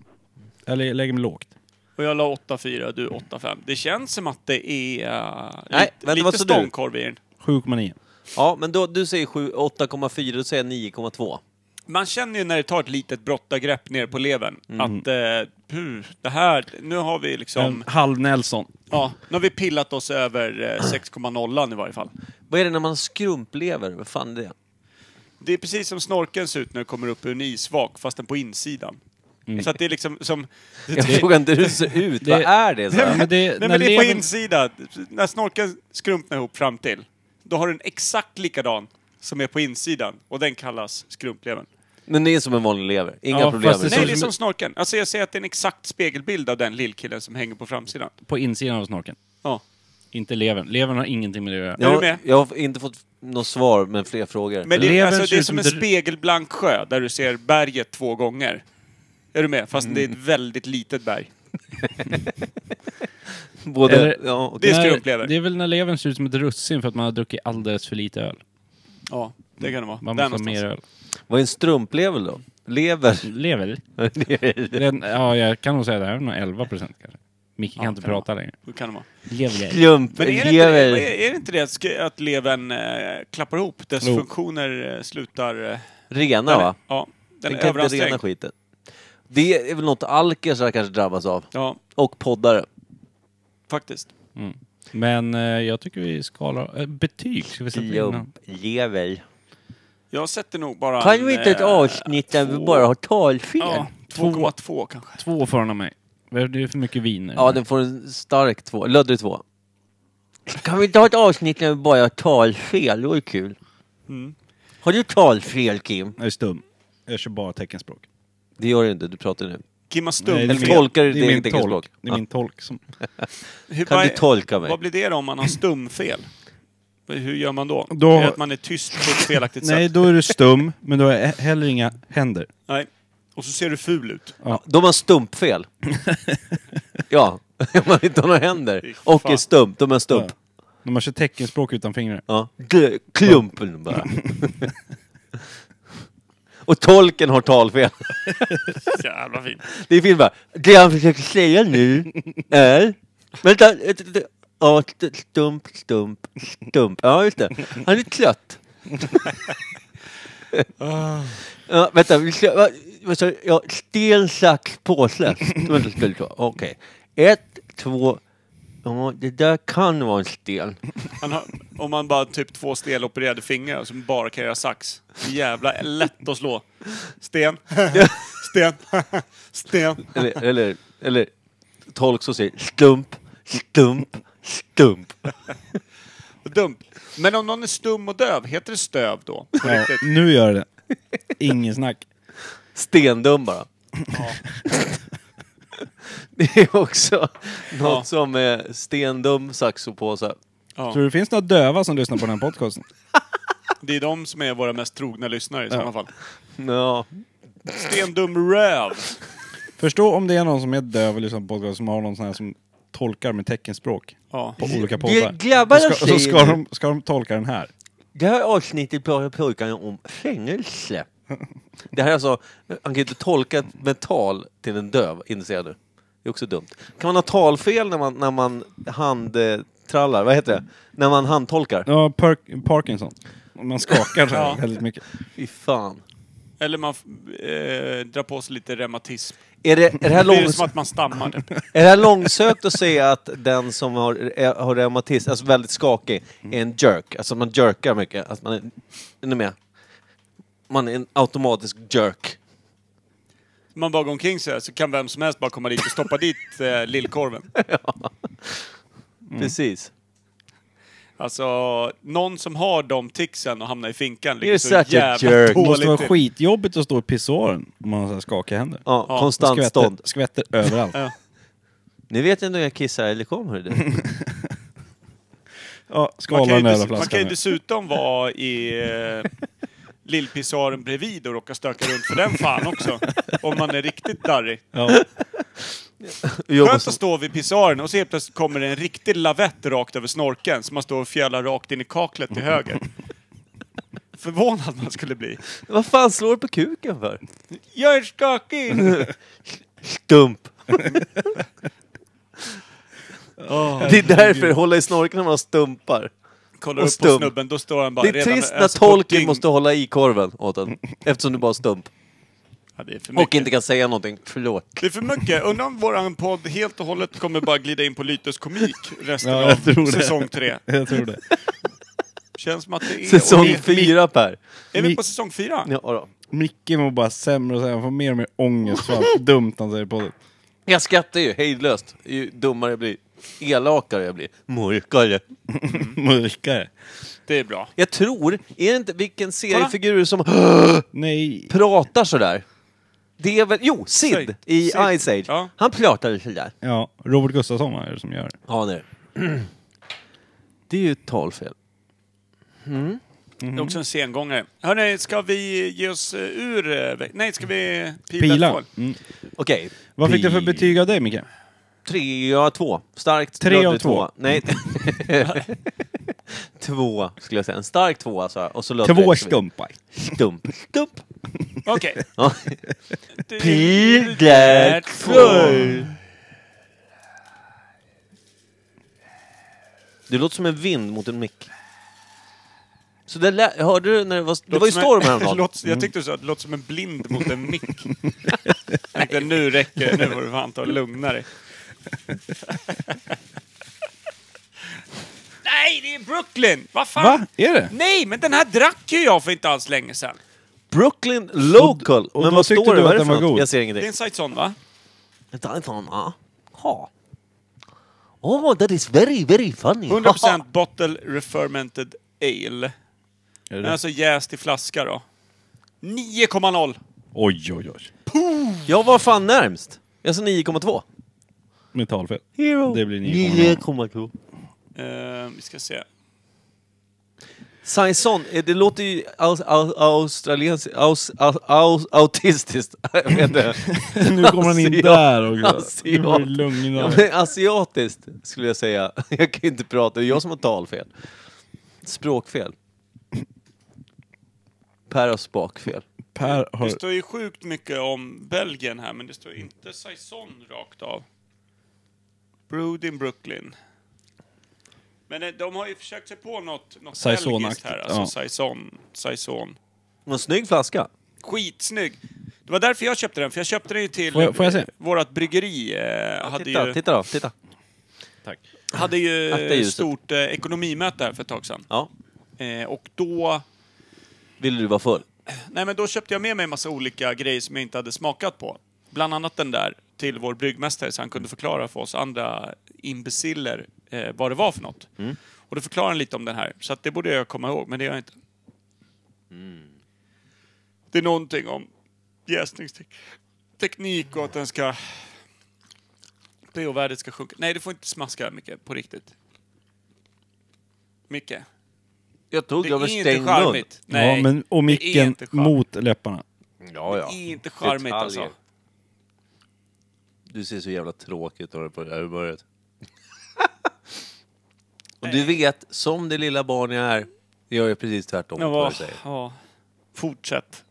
[SPEAKER 2] Eller jag lägger mig lågt.
[SPEAKER 3] Och jag la 8-4, du 8-5. Det känns som att det är eh,
[SPEAKER 1] Nej, vänta,
[SPEAKER 3] lite,
[SPEAKER 1] vad
[SPEAKER 3] lite
[SPEAKER 1] sa du?
[SPEAKER 3] stångkorv i den.
[SPEAKER 2] 7,9.
[SPEAKER 1] Ja, men då, du säger sju- 8,4, då säger jag 9,2.
[SPEAKER 3] Man känner ju när det tar ett litet brottargrepp ner på levern att
[SPEAKER 1] Mm.
[SPEAKER 3] eh, puh, det här, nu har vi liksom,
[SPEAKER 2] En Ehm, halv Nelson.
[SPEAKER 3] ja, nu har vi pillat oss över eh, 6,0 i varje fall.
[SPEAKER 1] Vad är det när man skrumplever? Vad fan är det?
[SPEAKER 3] Det är precis som snorkeln ser ut när den kommer upp ur en isvak, fast den på insidan. Så att det är liksom som...
[SPEAKER 1] Jag frågar inte hur det ser ut,
[SPEAKER 2] det-
[SPEAKER 1] vad är det? Så
[SPEAKER 3] Nej,
[SPEAKER 1] här?
[SPEAKER 3] men
[SPEAKER 2] men det-
[SPEAKER 3] det,
[SPEAKER 2] när
[SPEAKER 3] men det är på
[SPEAKER 2] levern-
[SPEAKER 3] insidan. När snorkeln skrumpnar ihop fram till, då har du en exakt likadan som är på insidan och den kallas skrumplevern.
[SPEAKER 1] Men det är som en vanlig lever, inga
[SPEAKER 2] Ja,
[SPEAKER 1] problem.
[SPEAKER 2] fast det
[SPEAKER 3] Nej,
[SPEAKER 2] som-
[SPEAKER 3] det är som snorkeln. Alltså jag säger att det är en exakt spegelbild av den lillkillen som hänger på framsidan.
[SPEAKER 2] På insidan av snorkeln.
[SPEAKER 3] Ja.
[SPEAKER 2] Inte levern. Levern har ingenting med det att göra.
[SPEAKER 3] Ja. Är du
[SPEAKER 1] Jag,
[SPEAKER 3] med?
[SPEAKER 1] jag har inte fått något svar, men fler frågor.
[SPEAKER 3] Men det, är-
[SPEAKER 2] Levern
[SPEAKER 3] alltså,
[SPEAKER 2] ser
[SPEAKER 3] det är
[SPEAKER 2] ut
[SPEAKER 3] som en
[SPEAKER 2] som dr-
[SPEAKER 3] spegelblank sjö där du ser berget två
[SPEAKER 2] Mm.
[SPEAKER 3] gånger. Är du med? Fast det är ett väldigt litet berg.
[SPEAKER 1] Både...
[SPEAKER 2] Eller-
[SPEAKER 1] ja, och
[SPEAKER 3] Det är
[SPEAKER 2] När-
[SPEAKER 3] skrumplever.
[SPEAKER 2] Det är väl när levern ser ut som ett russin för att man har druckit alldeles för lite öl.
[SPEAKER 3] Ja, det kan det vara.
[SPEAKER 2] Man
[SPEAKER 3] Där
[SPEAKER 2] måste ha mer
[SPEAKER 3] någonstans.
[SPEAKER 2] öl.
[SPEAKER 1] Vad är en strumplever då? Lever?
[SPEAKER 2] Lever?
[SPEAKER 1] Det
[SPEAKER 2] Den, ja, jag kan nog säga det. Här är nog 11 procent kanske. Micke kan
[SPEAKER 3] Ja,
[SPEAKER 2] inte
[SPEAKER 3] kan
[SPEAKER 2] prata längre.
[SPEAKER 3] Då kan det vara.
[SPEAKER 1] är
[SPEAKER 2] Lever.
[SPEAKER 1] Strump,
[SPEAKER 3] Men är det, inte
[SPEAKER 1] lever.
[SPEAKER 3] det, är det inte det att sk- att levern eh, klappar ihop? Dess
[SPEAKER 2] Jo.
[SPEAKER 3] funktioner eh, slutar... Eh,
[SPEAKER 1] Rena va?
[SPEAKER 3] ja, den,
[SPEAKER 1] Den
[SPEAKER 3] är
[SPEAKER 1] kan inte rena
[SPEAKER 3] överansträngd.
[SPEAKER 1] skiten. Det är väl något alkisar kanske drabbas av.
[SPEAKER 3] Ja,
[SPEAKER 1] Och poddare.
[SPEAKER 3] faktiskt.
[SPEAKER 2] Men eh, jag tycker vi skalar... eh, betyg ska vi sätta innan.
[SPEAKER 1] Lever.
[SPEAKER 3] Jag sätter nog bara...
[SPEAKER 1] Kan
[SPEAKER 3] en,
[SPEAKER 1] vi inte ett
[SPEAKER 3] eh,
[SPEAKER 1] avsnitt där vi
[SPEAKER 3] två-
[SPEAKER 1] bara har talfel?
[SPEAKER 3] Ja, 2,2 kanske.
[SPEAKER 2] Två får han av mig. Det är för mycket vin.
[SPEAKER 1] Ja, den får en stark två. Lödder två. Kan vi inte ha ett avsnitt när vi bara har talfel? Det vore kul.
[SPEAKER 3] Mm.
[SPEAKER 1] Har du talfel, Kim?
[SPEAKER 2] Jag är stum. Jag kör bara teckenspråk.
[SPEAKER 1] Det gör du inte, du pratar nu.
[SPEAKER 3] Kim har
[SPEAKER 2] Nej, det är
[SPEAKER 1] Eller
[SPEAKER 3] stumfel.
[SPEAKER 2] min-
[SPEAKER 1] tolkar du
[SPEAKER 2] det är
[SPEAKER 1] ditt
[SPEAKER 2] min
[SPEAKER 1] eget
[SPEAKER 2] tolk.
[SPEAKER 1] teckenspråk?
[SPEAKER 2] Det är
[SPEAKER 1] Ja.
[SPEAKER 2] min tolk som...
[SPEAKER 3] Hur-
[SPEAKER 1] Kan
[SPEAKER 3] vad-
[SPEAKER 1] du tolka mig?
[SPEAKER 3] Vad blir det då om man har stumfel? Hur gör man då?
[SPEAKER 2] Då-
[SPEAKER 3] Är det att man är tyst på ett felaktigt
[SPEAKER 2] Nej,
[SPEAKER 3] sätt?
[SPEAKER 2] då är du stum, men du har he- heller inga händer.
[SPEAKER 3] Nej. Och så ser du ful ut.
[SPEAKER 1] De har stumpfel. ja, om man inte har några händer. Och är
[SPEAKER 3] fan.
[SPEAKER 1] stump, de är stump.
[SPEAKER 2] När man kör teckenspråk utan fingrar.
[SPEAKER 1] Ja. Gl- Klumpen bara. Och tolken har talfel.
[SPEAKER 3] Jävla fint.
[SPEAKER 1] Det är filmen bara, det han försöker säga nu är... Vänta, ett- ett- ett- ja, st- stump, stump, stump. Ja, just det. Han är trött. Ja, vänta, vi ska, va, vad sa du? ja, sten, sax, påse. Det var inte skulle ta. Okej. Ett, två... Ja, det där kan vara en sten.
[SPEAKER 3] Han har, om man bara har typ två stelopererade fingrar som bara kan göra sax. Jävla lätt att slå. Sten. Sten. Sten.
[SPEAKER 1] Eller, eller, eller tolk som säger stump, stump, stump.
[SPEAKER 3] Dumt. Men om någon är stum och döv, heter det stöv då? På
[SPEAKER 2] Ja,
[SPEAKER 3] riktigt?
[SPEAKER 2] nu gör det. Ingen snack.
[SPEAKER 1] Stendum bara. Det är också något som är stendum saxopåse.
[SPEAKER 2] Tror
[SPEAKER 3] Ja.
[SPEAKER 2] du det finns några döva som lyssnar på den här podcasten?
[SPEAKER 3] Det är de som är våra mest trogna lyssnare i sådana fall.
[SPEAKER 1] Ja.
[SPEAKER 3] Stendum röv.
[SPEAKER 2] Förstå om det är någon som är döv och lyssnar på podcast som har någon sån här som tolkar med teckenspråk
[SPEAKER 3] Ja.
[SPEAKER 2] på olika
[SPEAKER 1] Det
[SPEAKER 2] poddar.
[SPEAKER 1] grabbarna
[SPEAKER 2] Och ska, och så ska,
[SPEAKER 1] säger nu.
[SPEAKER 2] de, ska de tolka den här.
[SPEAKER 1] Det här avsnittet pratar pojkarna om fängelse. Det här är alltså, han kan inte tolka ett mental till en döv, inser du. Det är också dumt. Kan man ha talfel när man, när man handtrallar? Vad heter det? När man handtolkar?
[SPEAKER 2] Ja, per, Parkinson. Om Man skakar så här
[SPEAKER 3] Ja.
[SPEAKER 2] väldigt mycket.
[SPEAKER 1] Fy fan.
[SPEAKER 3] Eller man f- eh, drar på sig lite reumatism.
[SPEAKER 1] Är det, är det här
[SPEAKER 3] Det är
[SPEAKER 1] långs-
[SPEAKER 3] ju som att man stammar. typ.
[SPEAKER 1] Är det här långsökt att säga att den som har, är, har reumatism, alltså väldigt skakig,
[SPEAKER 3] Mm.
[SPEAKER 1] är en jerk? Alltså man jerkar mycket. Att man är, är ni med? Man är en automatisk jerk.
[SPEAKER 3] Man bara går omkring så här, så kan vem som helst bara komma dit och stoppa dit eh, lillkorven. Mm.
[SPEAKER 1] Precis.
[SPEAKER 3] Alltså, någon som har de ticsen och hamnar i finkan ligger
[SPEAKER 1] You're
[SPEAKER 3] så
[SPEAKER 1] such a
[SPEAKER 3] jävla
[SPEAKER 1] jerk.
[SPEAKER 2] Det måste vara
[SPEAKER 3] dåligt till.
[SPEAKER 2] skitjobbigt att stå i pissoaren om man har så här skakiga händer.
[SPEAKER 1] Ja,
[SPEAKER 3] Ja,
[SPEAKER 2] Och
[SPEAKER 1] konstant
[SPEAKER 2] skvätter,
[SPEAKER 1] stånd.
[SPEAKER 2] skvätter överallt.
[SPEAKER 3] Ja.
[SPEAKER 1] Ni vet inte om jag kissar eller kom, hörru du.
[SPEAKER 2] Ja,
[SPEAKER 3] Man
[SPEAKER 2] skala
[SPEAKER 3] kan, ju
[SPEAKER 2] den där
[SPEAKER 3] dess- man kan ju
[SPEAKER 2] flaskan. nu.
[SPEAKER 3] dessutom vara i eh, lillpissaren bredvid och råka stöka runt för den fan också. Om man är riktigt darrig.
[SPEAKER 2] Ja.
[SPEAKER 1] Jobbar
[SPEAKER 3] Skönt
[SPEAKER 1] som-
[SPEAKER 3] att stå vid pissoaren och så helt plötsligt kommer det en riktig lavett rakt över snorkeln som man står och fjälar rakt in i kaklet till höger. Förvånad man skulle bli.
[SPEAKER 1] Vad fan slår du på kuken för?
[SPEAKER 3] Jag är skakig!
[SPEAKER 1] Stump! det är därför, hålla i snorken när man stumpar.
[SPEAKER 3] Kollar
[SPEAKER 1] Och
[SPEAKER 3] upp på
[SPEAKER 1] stum.
[SPEAKER 3] snubben, då står han bara
[SPEAKER 1] Det är
[SPEAKER 3] redan
[SPEAKER 1] trist
[SPEAKER 3] med-
[SPEAKER 1] när
[SPEAKER 3] alltså, på
[SPEAKER 1] tolken
[SPEAKER 3] dygn.
[SPEAKER 1] måste hålla i korven åt en, eftersom du bara är stump.
[SPEAKER 3] Ja, det är för mycket.
[SPEAKER 1] Och inte kan säga någonting. Förlåt.
[SPEAKER 3] Det är för mycket. Undrar om våran podd helt och hållet kommer bara glida in på Lytes komik resten
[SPEAKER 2] Ja, jag tror
[SPEAKER 3] av
[SPEAKER 2] det.
[SPEAKER 3] säsong tre.
[SPEAKER 2] Jag tror det.
[SPEAKER 3] Känns som att det är...
[SPEAKER 1] Säsong
[SPEAKER 3] och det är-
[SPEAKER 1] fyra, Per.
[SPEAKER 3] Är vi på säsong fyra?
[SPEAKER 1] Ja, då.
[SPEAKER 2] Micke mår bara sämre och sämre. Han får mer och mer ångest för allt dumt han säger på det.
[SPEAKER 1] Jag skrattar ju hejdlöst. Ju dummare jag blir, elakare jag blir, mörkare.
[SPEAKER 3] Mm.
[SPEAKER 2] Mörkare.
[SPEAKER 3] Det är bra.
[SPEAKER 1] Jag tror, är det inte vilken seriefigur som
[SPEAKER 2] Nej.
[SPEAKER 1] pratar sådär? Det är väl, jo, Sid
[SPEAKER 3] Sid.
[SPEAKER 1] i
[SPEAKER 3] Sid.
[SPEAKER 1] Ice Age.
[SPEAKER 3] Ja.
[SPEAKER 1] Han pratade sådär.
[SPEAKER 2] Ja, Robert Gustafsson var det som gör det.
[SPEAKER 1] Ja, det är det. Det är ju ett talfel.
[SPEAKER 3] Det är också en sengångare. Hörni, ska vi ge oss eh, ur... eh, vä- Nej, ska vi pila?
[SPEAKER 2] Pila.
[SPEAKER 3] tvål?
[SPEAKER 2] Mm.
[SPEAKER 1] Okej.
[SPEAKER 2] Vad fick du för betyg av dig Micke?
[SPEAKER 1] Tre av två. Starkt
[SPEAKER 2] Tre av
[SPEAKER 1] luddig
[SPEAKER 2] två.
[SPEAKER 1] tvåa. Nej. två skulle jag säga. En stark tvåa sa jag. Och så löd
[SPEAKER 2] Två
[SPEAKER 1] det-
[SPEAKER 2] skumpar.
[SPEAKER 1] Stump. Stump.
[SPEAKER 3] Okej.
[SPEAKER 1] Ja.
[SPEAKER 3] Du-
[SPEAKER 1] Peter Troy. Du låter som en vind mot en mick. Så det lä- hörde du när det var... Det var ju
[SPEAKER 3] Låter som
[SPEAKER 1] storm
[SPEAKER 3] en-
[SPEAKER 1] häromdagen. Mm.
[SPEAKER 3] Låter- Jag tyckte du sa att det låter som en blind mot en mick. Jag tänkte nu räcker det, nu får du fan ta och lugna dig. Nej, det är Brooklyn! Vad fan!
[SPEAKER 2] Va? Är det?
[SPEAKER 3] Nej, men den här drack ju jag för inte alls länge sedan.
[SPEAKER 1] Brooklyn Local.
[SPEAKER 2] och
[SPEAKER 1] Men
[SPEAKER 2] då
[SPEAKER 1] vad
[SPEAKER 2] tyckte
[SPEAKER 1] står det?
[SPEAKER 2] du
[SPEAKER 1] Vad är
[SPEAKER 2] att
[SPEAKER 1] det
[SPEAKER 2] den
[SPEAKER 1] för
[SPEAKER 2] var
[SPEAKER 1] något?
[SPEAKER 2] god?
[SPEAKER 1] Jag ser
[SPEAKER 3] Det är
[SPEAKER 1] ingenting.
[SPEAKER 3] en Saitson, va?
[SPEAKER 1] Typhon, ah. Ha. Oh, that is very, very funny.
[SPEAKER 3] 100% bottle refermented ale. Den är alltså jäst i flaska då. 9,0!
[SPEAKER 2] Oj, oj, oj.
[SPEAKER 1] Jag var fan närmst. Alltså Jag sa 9,2.
[SPEAKER 2] Mentalfel.
[SPEAKER 1] Hero.
[SPEAKER 2] Det blir 9,0.
[SPEAKER 1] 9,2.
[SPEAKER 3] Eh, vi ska se.
[SPEAKER 1] Saison, eh, det låter ju aus, aus, australiensiskt... Aus, aus, aus, autistiskt. Jag vet inte.
[SPEAKER 2] Nu kommer han in
[SPEAKER 1] Asiat.
[SPEAKER 2] där också.
[SPEAKER 1] Asiat.
[SPEAKER 2] Nu var det
[SPEAKER 1] Ja,
[SPEAKER 2] lugnare.
[SPEAKER 1] men asiatiskt skulle jag säga. Jag kan ju inte prata, det är jag som har talfel. Språkfel. Per har spakfel.
[SPEAKER 2] Per har...
[SPEAKER 3] Det står ju sjukt mycket om Belgien här, men det står inte Saison rakt av. Brewed in Brooklyn. Men eh, de har ju försökt sig på något, något belgiskt
[SPEAKER 2] Saison-aktigt,
[SPEAKER 3] här, alltså
[SPEAKER 2] ja.
[SPEAKER 3] Saison. Saison.
[SPEAKER 1] En snygg flaska.
[SPEAKER 3] Skitsnygg! Det var därför jag köpte den, för jag köpte den ju till
[SPEAKER 2] Får jag- får jag se?
[SPEAKER 3] vårt bryggeri. Eh, hade
[SPEAKER 1] Titta,
[SPEAKER 3] ju,
[SPEAKER 1] titta då, titta.
[SPEAKER 3] hade ju
[SPEAKER 1] Akta ljuset.
[SPEAKER 3] stort eh, ekonomimöte här för ett tag sedan.
[SPEAKER 1] Ja.
[SPEAKER 3] Eh, och då
[SPEAKER 1] Vill du vara full?
[SPEAKER 3] Nej, men då köpte jag med mig en massa olika grejer som jag inte hade smakat på. Bland annat den där till vår bryggmästare så han kunde förklara för oss andra imbeciller eh, vad det var för något.
[SPEAKER 1] Mm.
[SPEAKER 3] Och då förklarade han lite om den här, så att det borde jag komma ihåg, men det gör jag inte.
[SPEAKER 1] Mm.
[SPEAKER 3] Det är någonting om jäsningsteknik och att den ska... pH-värdet ska sjunka. Nej, du får inte smaska mycket på riktigt. Mycket.
[SPEAKER 1] Jag tog
[SPEAKER 3] Det
[SPEAKER 1] över
[SPEAKER 3] är inte
[SPEAKER 1] stängd mun.
[SPEAKER 3] charmigt. Nej,
[SPEAKER 2] Ja, men, och
[SPEAKER 3] det är
[SPEAKER 2] micken
[SPEAKER 3] inte charmigt.
[SPEAKER 2] mot läpparna.
[SPEAKER 1] Ja, ja.
[SPEAKER 3] Det är inte charmigt
[SPEAKER 1] Detaljer.
[SPEAKER 3] alltså.
[SPEAKER 1] Du ser så jävla tråkigt ut på det här humöret. Och du vet, som det lilla barn jag är, gör jag precis tvärtom mot vad
[SPEAKER 3] Ja,
[SPEAKER 1] jag säger.
[SPEAKER 3] ja. Fortsätt.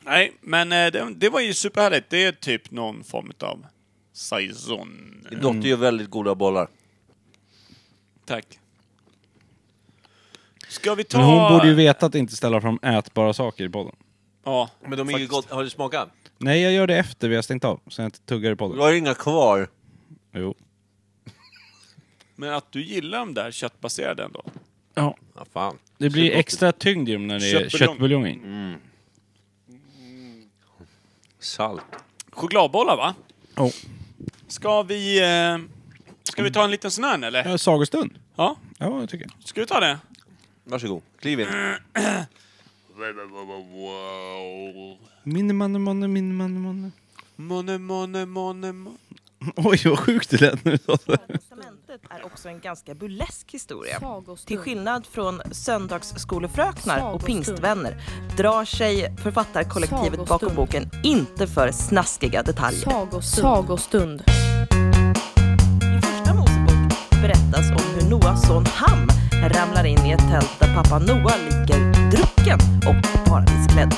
[SPEAKER 3] Nej, men eh, det, det var ju superhärligt. Det är typ någon form av saison.
[SPEAKER 1] Min dotter gör väldigt goda bollar.
[SPEAKER 3] Tack. Ska vi ta...
[SPEAKER 2] Men hon borde ju veta att inte ställa fram ätbara saker i podden.
[SPEAKER 3] Ja,
[SPEAKER 1] Men de är ju
[SPEAKER 3] faktiskt.
[SPEAKER 1] gott. Har du smakat?
[SPEAKER 2] Nej, jag gör det efter vi har stängt av, så jag inte tuggar i
[SPEAKER 1] Du
[SPEAKER 2] podden.
[SPEAKER 1] har ju inga kvar.
[SPEAKER 2] Jo.
[SPEAKER 3] Men att du gillar de där köttbaserade ändå.
[SPEAKER 2] Ja.
[SPEAKER 1] Ja, fan.
[SPEAKER 2] Det blir extra tyngd i dem när det är
[SPEAKER 3] Köttbuljong.
[SPEAKER 2] köttbuljong Mm. i.
[SPEAKER 1] Salt.
[SPEAKER 3] Chokladbollar, va?
[SPEAKER 2] Ja.
[SPEAKER 3] Ska vi... Eh, ska vi ta en liten sån här, eller?
[SPEAKER 2] Ja, Sagostund.
[SPEAKER 3] Ja,
[SPEAKER 2] Ja, det tycker jag.
[SPEAKER 3] ska vi ta det?
[SPEAKER 1] Varsågod. Kliv in.
[SPEAKER 2] Minimanne, manne, minimanne, manne.
[SPEAKER 3] Måne, måne, måne, måne.
[SPEAKER 2] Oj, vad sjukt det lät när du sa det.
[SPEAKER 8] Testamentet är också en ganska burlesk historia.
[SPEAKER 5] Sagostund.
[SPEAKER 8] Till skillnad från söndagsskolefröknar och
[SPEAKER 5] Sagostund.
[SPEAKER 8] pingstvänner drar sig författarkollektivet bakom
[SPEAKER 5] Sagostund.
[SPEAKER 8] boken inte för snaskiga detaljer.
[SPEAKER 5] Sagostund.
[SPEAKER 8] I första Mosebok berättas om hur Noas son Ham ramlar in i ett tält där pappa Noa ligger drucken och paradisklädd.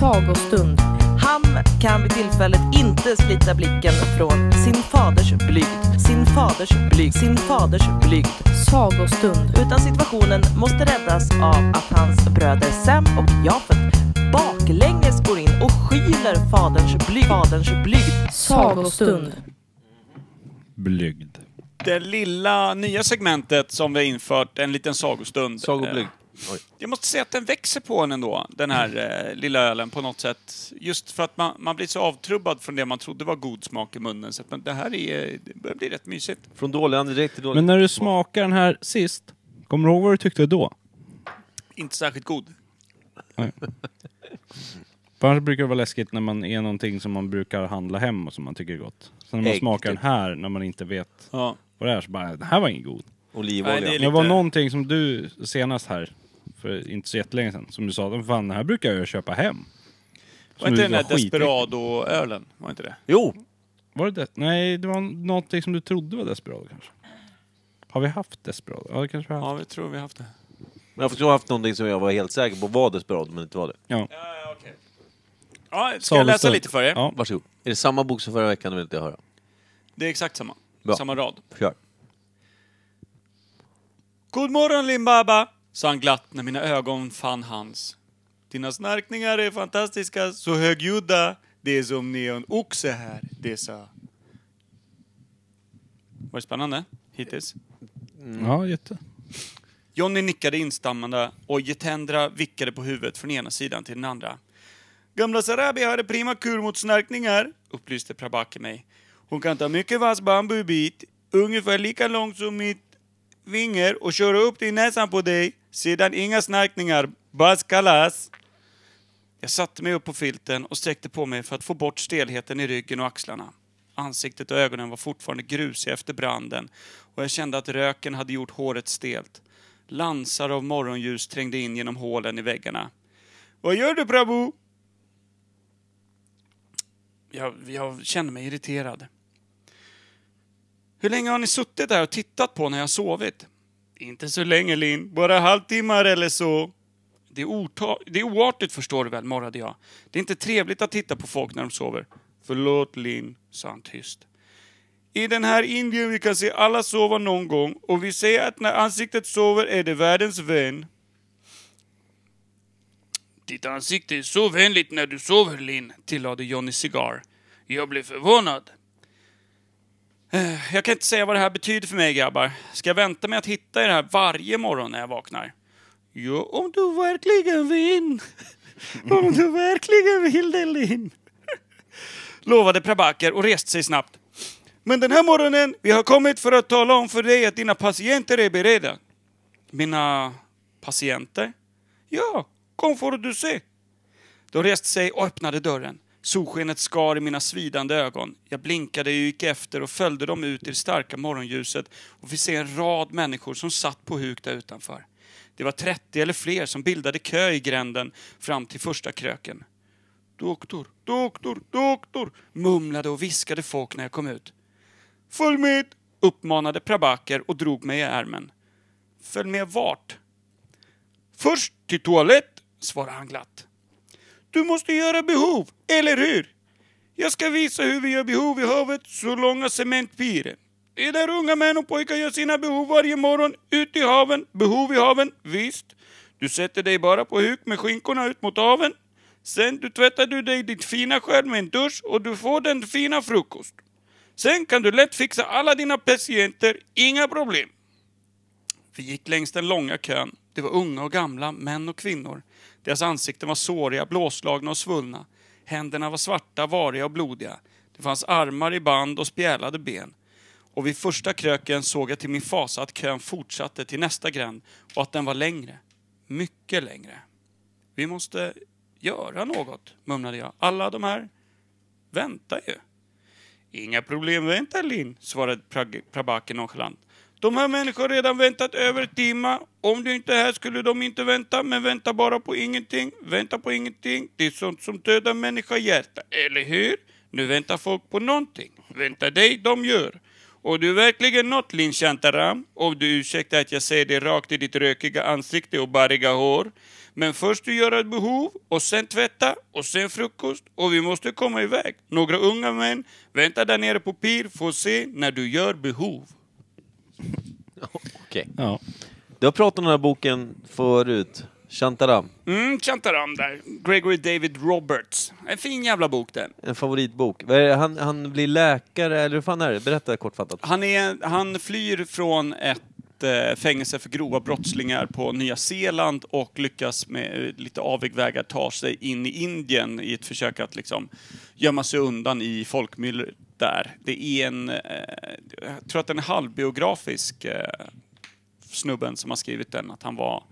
[SPEAKER 5] Sagostund.
[SPEAKER 8] Ham kan vid tillfället inte slita blicken från sin faders blygd, sin faders blygd, sin faders blygd.
[SPEAKER 5] Sagostund.
[SPEAKER 8] utan situationen måste räddas av att hans bröder Sam och Jafet baklänges går in och skyler faderns blyg. Faderns blyg.
[SPEAKER 5] Sagostund.
[SPEAKER 2] Blygd.
[SPEAKER 3] det lilla nya segmentet som vi har infört, en liten sagostund.
[SPEAKER 1] Sagoblygd.
[SPEAKER 3] Eh,
[SPEAKER 1] Oj.
[SPEAKER 3] Jag måste säga att den växer på en ändå, den här eh, lilla ölen på något sätt. Just för att man, man blir så avtrubbad från det man trodde var god smak i munnen. Så att man, det här är, det börjar bli rätt mysigt.
[SPEAKER 1] Från dålig andedräkt till dålig...
[SPEAKER 2] Men när du smakar den här sist, kommer du ihåg vad du tyckte då?
[SPEAKER 3] Inte särskilt god.
[SPEAKER 2] För annars brukar det vara läskigt när man är någonting som man brukar handla hem och som man tycker är gott. Sen när man
[SPEAKER 1] Ägg,
[SPEAKER 2] smakar
[SPEAKER 1] typ.
[SPEAKER 2] den här, när man inte vet
[SPEAKER 3] Ja.
[SPEAKER 2] vad det är, så bara, det här var ingen god.
[SPEAKER 1] Olivolja.
[SPEAKER 3] Nej, det är
[SPEAKER 2] Det,
[SPEAKER 3] lite-
[SPEAKER 2] var någonting som du senast här, för inte så jättelänge sedan, som du sa, "Men fan den här brukar jag köpa hem.
[SPEAKER 3] Var inte
[SPEAKER 2] nu
[SPEAKER 3] den
[SPEAKER 2] var
[SPEAKER 3] där
[SPEAKER 2] skitäcklig.
[SPEAKER 3] Desperado-ölen? Var inte det?
[SPEAKER 1] Jo!
[SPEAKER 2] Var det det? Nej, det var någonting som du trodde var Desperado kanske. Har vi haft Desperado? Ja, det kanske vi har haft.
[SPEAKER 3] Ja, vi tror vi har haft det.
[SPEAKER 1] Men jag förstår haft någonting som jag var helt säker på var desperat men inte var det.
[SPEAKER 2] Ja.
[SPEAKER 3] Ja, okej. Ja, ska jag läsa
[SPEAKER 2] Salustund.
[SPEAKER 3] lite för er?
[SPEAKER 2] Ja.
[SPEAKER 1] Varsågod. Är det samma bok som förra veckan? Det vill inte jag höra.
[SPEAKER 3] Det är exakt samma.
[SPEAKER 1] Bra.
[SPEAKER 3] Samma rad.
[SPEAKER 1] Kör.
[SPEAKER 3] God morgon Limbaba, sa han glatt när mina ögon fann hans. Dina snarkningar är fantastiska, så högljudda. Det är som neonoxe här, det sa. Var det spännande? Hittills?
[SPEAKER 2] ja, jätte.
[SPEAKER 3] Johnny nickade instammande och Getendra vickade på huvudet från ena sidan till den andra. Gamla Sarabi hade prima kur mot snarkningar, upplyste Prabaki mig. Hon kan ta mycket vass bambubit, ungefär lika långt som mitt vinger och köra upp det i näsan på dig. Sedan inga snarkningar, bas kalas. Jag satte mig upp på filten och sträckte på mig för att få bort stelheten i ryggen och axlarna. Ansiktet och ögonen var fortfarande grusiga efter branden och jag kände att röken hade gjort håret stelt. Lansar av morgonljus trängde in genom hålen i väggarna. Vad gör du, Prabhu? Jag, jag kände mig irriterad. Hur länge har ni suttit där och tittat på när jag sovit? Inte så länge, Linn. Bara halvtimmar eller så. Det är, orta- det är oartigt, förstår du väl, morrade jag. Det är inte trevligt att titta på folk när de sover. Förlåt, Linn, sa han tyst. I den här Indien vi kan se alla sova någon gång och vi säger att när ansiktet sover är det världens vän. Ditt ansikte är så vänligt när du sover, Linn, tillade Johnny Cigar. Jag blev förvånad. Eh, Jag kan inte säga vad det här betyder för mig, grabbar. Ska jag vänta med att hitta er här varje morgon när jag vaknar? Jo, om du verkligen vill. Om du verkligen vill det, Linn. Lovade Prabakar och reste sig snabbt. Men den här morgonen, vi har kommit för att tala om för dig att dina patienter är beredda. Mina patienter? Ja, kom får du se. De reste sig och öppnade dörren. Solskenet skar i mina svidande ögon. Jag blinkade och gick efter och följde dem ut i det starka morgonljuset och fick se en rad människor som satt på huk där utanför. Det var 30 eller fler som bildade kö i gränden fram till första kröken. Doktor, doktor, doktor, mumlade och viskade folk när jag kom ut. Följ med! uppmanade Prabaker och drog mig i ärmen. Följ med vart? Först till toalett, svarade han glatt. Du måste göra behov, eller hur? Jag ska visa hur vi gör behov i havet så långa cementpiren. Det är där unga män och pojkar gör sina behov varje morgon, ut i haven, behov i haven, visst. Du sätter dig bara på huk med skinkorna ut mot haven. Sen du tvättar du dig ditt fina skärm med en dusch och du får den fina frukost. Sen kan du lätt fixa alla dina patienter, inga problem. Vi gick längs den långa kön. Det var unga och gamla, män och kvinnor. Deras ansikten var såriga, blåslagna och svullna. Händerna var svarta, variga och blodiga. Det fanns armar i band och spjälade ben. Och vid första kröken såg jag till min fasa att kön fortsatte till nästa gränd och att den var längre. Mycket längre. Vi måste göra något, mumlade jag. Alla de här väntar ju. Inga problem, vänta Linn, svarade Prag- Prabaki nonchalant. De här människorna har redan väntat över timmar. Om du inte är här skulle de inte vänta, men vänta bara på ingenting. Vänta på ingenting. Det är sånt som dödar människa hjärta, eller hur? Nu väntar folk på någonting. Vänta dig, de gör. Och du är verkligen något, Linn Shantaram, om du ursäktar att jag säger det rakt i ditt rökiga ansikte och barriga hår. Men först du gör ett behov och sen tvätta och sen frukost och vi måste komma iväg. Några unga män väntar där nere på pir får se när du gör behov.
[SPEAKER 1] Okej.
[SPEAKER 2] Ja.
[SPEAKER 1] Du har pratat om den här boken förut. Shantaram.
[SPEAKER 3] Mm, Chantaram där. Gregory David Roberts. En fin jävla bok det.
[SPEAKER 1] En favoritbok. Vad är det? Han, han blir läkare, eller hur fan är det? Berätta kortfattat.
[SPEAKER 3] Han, är, han flyr från ett eh, fängelse för grova brottslingar på Nya Zeeland och lyckas med eh, lite avigvägar ta sig in i Indien i ett försök att liksom gömma sig undan i folkmyller där. Det är en, eh, jag tror att det är en halvbiografisk eh, snubben som har skrivit den, att han var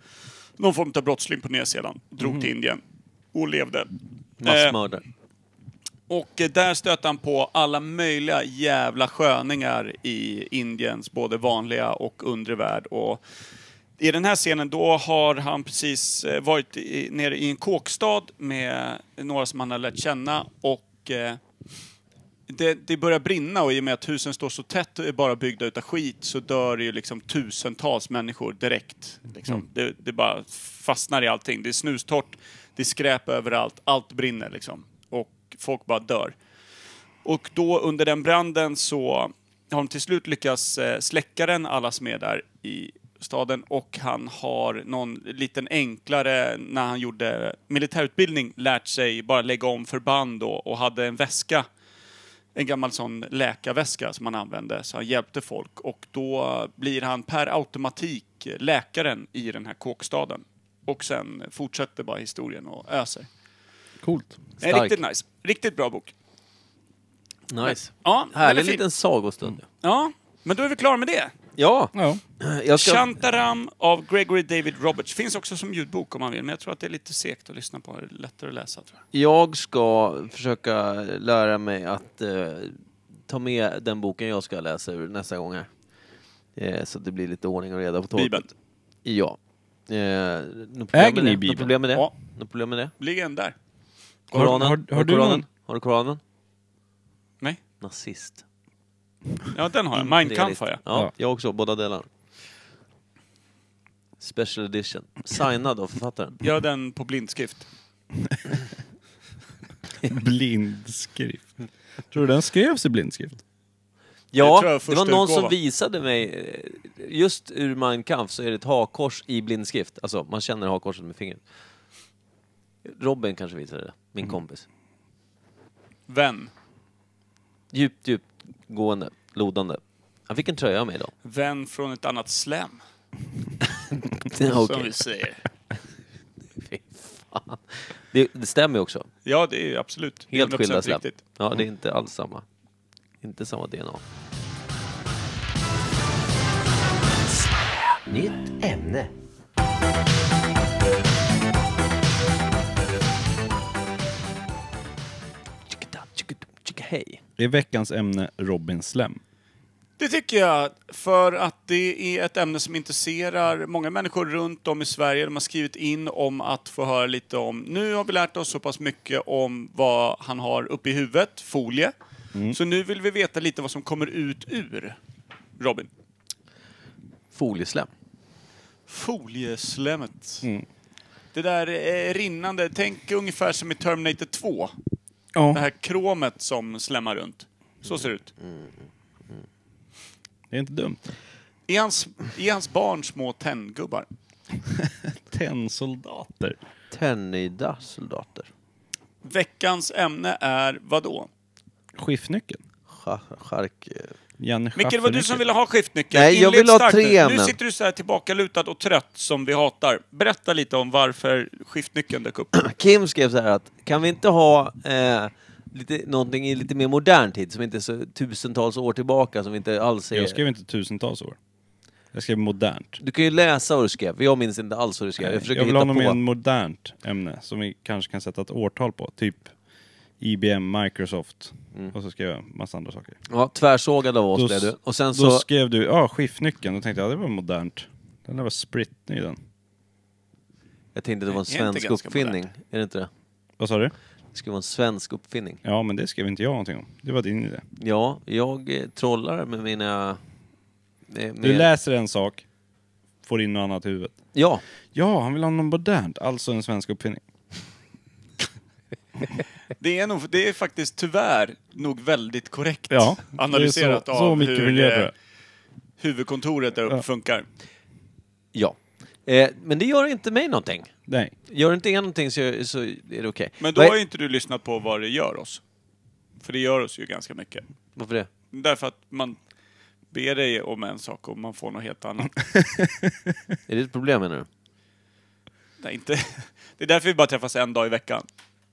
[SPEAKER 3] någon form av brottsling på Nya Zeeland, drog till Indien och levde. Eh,
[SPEAKER 1] Massmördare.
[SPEAKER 3] och eh, där stötte han på alla möjliga jävla sköningar i Indiens både vanliga och undre värld. Och I den här scenen då har han precis eh, varit i, nere i en kåkstad med några som han har lärt känna och eh, det, det börjar brinna och i och med att husen står så tätt och är bara byggda utav skit så dör det ju liksom tusentals människor direkt. Liksom. Det, det bara fastnar i allting. Det är snustort, det är skräp överallt, allt brinner liksom. Och folk bara dör. Och då under den branden så har de till slut lyckats eh, släcka den, alla som är där i staden. Och han har någon liten enklare, när han gjorde militärutbildning, lärt sig bara lägga om förband då, och hade en väska. En gammal sån läkarväska som han använde, så han hjälpte folk. Och då blir han per automatik läkaren i den här kåkstaden. Och sen fortsätter bara historien och öser.
[SPEAKER 2] Coolt.
[SPEAKER 3] Nej,
[SPEAKER 1] Stark.
[SPEAKER 3] Riktigt nice. Riktigt bra bok.
[SPEAKER 1] Nice.
[SPEAKER 3] Ja, den är
[SPEAKER 1] Härlig
[SPEAKER 3] fin.
[SPEAKER 1] liten sagostund.
[SPEAKER 3] Ja, men då är vi klara med det.
[SPEAKER 1] Ja,
[SPEAKER 2] Ja.
[SPEAKER 1] jag ska...
[SPEAKER 3] Shantaram av Gregory David Roberts. Finns också som ljudbok om man vill, men jag tror att det är lite segt att lyssna på. Det är lättare att läsa tror jag.
[SPEAKER 1] Jag ska försöka lära mig att eh, ta med den boken jag ska läsa ur nästa gång här. Eh, så att det blir lite ordning och reda på torpet.
[SPEAKER 3] Bibeln.
[SPEAKER 1] Ja. Eh, något
[SPEAKER 2] Äger
[SPEAKER 1] problem med
[SPEAKER 2] ni
[SPEAKER 1] det?
[SPEAKER 2] Bibeln?
[SPEAKER 1] Något problem med det?
[SPEAKER 3] Ja.
[SPEAKER 1] Något problem med det?
[SPEAKER 3] Ligger en där?
[SPEAKER 2] Har-
[SPEAKER 1] Koranen?
[SPEAKER 2] har-
[SPEAKER 1] Har,
[SPEAKER 2] har
[SPEAKER 1] du
[SPEAKER 2] du
[SPEAKER 1] Koranen?
[SPEAKER 2] någon-
[SPEAKER 1] Har du Koranen?
[SPEAKER 3] Nej.
[SPEAKER 1] Nazist.
[SPEAKER 3] Ja, den har
[SPEAKER 1] Mm,
[SPEAKER 3] jag. Mein Kampf
[SPEAKER 1] Realist.
[SPEAKER 3] har jag.
[SPEAKER 1] Ja,
[SPEAKER 2] Ja.
[SPEAKER 1] jag också. Båda delarna. Special edition. Signad av författaren.
[SPEAKER 3] Gör den på blindskrift.
[SPEAKER 2] Blindskrift. Tror du den skrevs i blindskrift?
[SPEAKER 1] Ja,
[SPEAKER 3] tror jag är
[SPEAKER 1] det,
[SPEAKER 3] första
[SPEAKER 1] var någon
[SPEAKER 3] utgåvan.
[SPEAKER 1] som visade mig, eh, just ur Mein Kampf så är det ett hakkors i blindskrift. Alltså, man känner hakkorset med fingret. Robin kanske visade det, min kompis.
[SPEAKER 3] Vän.
[SPEAKER 1] Djupt, djupt gående, lodande. Han fick en tröja av mig idag.
[SPEAKER 3] Vän från ett annat slem,
[SPEAKER 1] Ja,
[SPEAKER 3] som vi
[SPEAKER 1] okej.
[SPEAKER 3] säger.
[SPEAKER 1] Fy fan. Det, det stämmer ju också.
[SPEAKER 3] Ja, det är ju absolut. Det är
[SPEAKER 1] Helt skilda
[SPEAKER 3] 100%
[SPEAKER 1] släpp.
[SPEAKER 3] riktigt.
[SPEAKER 1] Ja, det är inte alls samma. Inte samma DNA.
[SPEAKER 9] Nytt ämne.
[SPEAKER 1] Tjicka, tjicka, tjicka, Hej.
[SPEAKER 2] Det är veckans ämne Robin Slem.
[SPEAKER 3] Det tycker jag, för att det är ett ämne som intresserar många människor runt om i Sverige. De har skrivit in om att få höra lite om... Nu har vi lärt oss så pass mycket om vad han har uppe i huvudet, folie.
[SPEAKER 1] Mm.
[SPEAKER 3] Så nu vill vi veta lite vad som kommer ut ur Robin.
[SPEAKER 1] Folieslem.
[SPEAKER 3] Folieslemmet.
[SPEAKER 1] Mm.
[SPEAKER 3] Det där eh, rinnande, tänk ungefär som i Terminator 2. Det
[SPEAKER 2] Ja.
[SPEAKER 3] här kromet som slämmar runt. Så ser det ut.
[SPEAKER 2] Det är inte dumt.
[SPEAKER 3] Är hans, är hans barn små tenngubbar?
[SPEAKER 2] Tennsoldater.
[SPEAKER 1] Tennida soldater.
[SPEAKER 3] Veckans ämne är vadå?
[SPEAKER 2] Skiftnyckeln.
[SPEAKER 1] Scha- Chark... eh,
[SPEAKER 2] Janne
[SPEAKER 3] Micke, det var du
[SPEAKER 2] Schaffernyckeln.
[SPEAKER 3] som ville ha skiftnyckeln.
[SPEAKER 1] Nej, jag
[SPEAKER 3] Inled
[SPEAKER 1] vill ha
[SPEAKER 3] starkt
[SPEAKER 1] tre
[SPEAKER 3] nu. Nu
[SPEAKER 1] ämnen.
[SPEAKER 3] sitter du så här tillbakalutad och trött som vi hatar. Berätta lite om varför skiftnyckeln dök upp.
[SPEAKER 1] Kim skrev så här att kan vi inte ha eh, lite, någonting i lite mer modern tid som inte är så tusentals år tillbaka som vi inte alls är...
[SPEAKER 2] Jag skrev inte tusentals år. Jag skrev modernt.
[SPEAKER 1] Du kan ju läsa vad du skrev, för jag minns inte alls vad du skrev. Jag försöker
[SPEAKER 2] jag vill ha
[SPEAKER 1] hitta
[SPEAKER 2] något
[SPEAKER 1] på.
[SPEAKER 2] mer modernt ämne som vi kanske kan sätta ett årtal på. Typ IBM, Microsoft och så skrev jag massa andra saker.
[SPEAKER 1] Ja, tvärsågad av oss
[SPEAKER 2] Då
[SPEAKER 1] blev
[SPEAKER 2] s-
[SPEAKER 1] Mm. du. Och sen
[SPEAKER 2] Då
[SPEAKER 1] så...
[SPEAKER 2] skrev du ja, skiftnyckeln. Då tänkte jag ja, det var modernt. Den där var spritny den.
[SPEAKER 1] Jag tänkte det var en
[SPEAKER 3] Är inte
[SPEAKER 1] svensk
[SPEAKER 3] ganska
[SPEAKER 1] uppfinning.
[SPEAKER 3] modernt.
[SPEAKER 1] Är det inte det?
[SPEAKER 2] Vad sa du?
[SPEAKER 1] Det skulle vara en svensk uppfinning.
[SPEAKER 2] Ja, men det skrev inte jag någonting om. Det var din idé.
[SPEAKER 1] Ja, jag eh, trollar med mina... Med,
[SPEAKER 2] Du läser en sak, får in något annat i huvudet.
[SPEAKER 1] Ja,
[SPEAKER 2] Ja, han vill ha något modernt. Alltså en svensk uppfinning.
[SPEAKER 3] Det är, nog, det är faktiskt tyvärr nog väldigt korrekt
[SPEAKER 2] Ja,
[SPEAKER 3] analyserat
[SPEAKER 2] det är så, så
[SPEAKER 3] av
[SPEAKER 2] mycket vill
[SPEAKER 3] hur
[SPEAKER 2] jag
[SPEAKER 3] eh,
[SPEAKER 2] göra.
[SPEAKER 3] huvudkontoret där uppe
[SPEAKER 2] Ja.
[SPEAKER 3] funkar.
[SPEAKER 1] ja. Eh, men det gör inte mig någonting.
[SPEAKER 2] Nej.
[SPEAKER 1] Gör inte er någonting så, så är det okej.
[SPEAKER 3] Men då
[SPEAKER 1] Vad är-
[SPEAKER 3] har ju inte du lyssnat på vad det gör oss. För det gör oss ju ganska mycket.
[SPEAKER 1] Varför det?
[SPEAKER 3] Därför att man ber dig om en sak och man får något helt annat.
[SPEAKER 1] Är det ett problem menar du?
[SPEAKER 3] Nej, inte. Det är därför vi bara träffas en dag i veckan.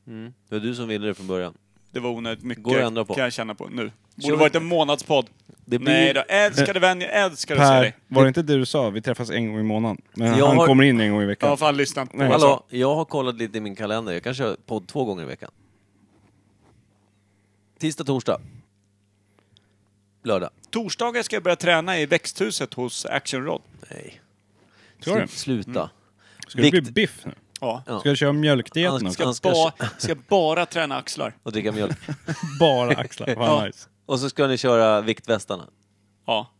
[SPEAKER 1] Det var du som ville det från början.
[SPEAKER 3] Det var onödigt mycket.
[SPEAKER 1] Går att ändra på.
[SPEAKER 3] Kan jag känna på nu. Borde
[SPEAKER 1] Kör.
[SPEAKER 3] varit en månadspodd.
[SPEAKER 1] Det blir-
[SPEAKER 3] Nej då, älskade vän, jag älskar att se
[SPEAKER 2] Per,
[SPEAKER 3] dig.
[SPEAKER 2] var det inte det du sa? Vi träffas en gång i månaden. Men
[SPEAKER 1] Jag
[SPEAKER 2] han
[SPEAKER 1] har-
[SPEAKER 2] kommer in en gång i
[SPEAKER 3] Jag har
[SPEAKER 2] veckan.
[SPEAKER 3] fan Alltså, lyssnat på vad jag sa.
[SPEAKER 1] Hallå, jag har kollat lite i min kalender. Jag kanske har podd två gånger i veckan. Tisdag, torsdag. Lördag.
[SPEAKER 3] Torsdagar ska jag börja träna i växthuset hos Action Rod.
[SPEAKER 1] Nej.
[SPEAKER 2] Ska du?
[SPEAKER 1] Slu- sluta.
[SPEAKER 2] Mm. Ska det bli
[SPEAKER 1] Vikt-
[SPEAKER 2] biff nu?
[SPEAKER 3] Ja.
[SPEAKER 1] Ja.
[SPEAKER 2] Ska jag köra mjölkdieten
[SPEAKER 1] Han
[SPEAKER 2] också?
[SPEAKER 3] Ska, ba, ska bara träna axlar.
[SPEAKER 1] och dricka mjölk.
[SPEAKER 2] Bara axlar. Vad
[SPEAKER 3] Ja.
[SPEAKER 2] nice.
[SPEAKER 1] Och så ska ni köra viktvästarna.
[SPEAKER 3] Ja.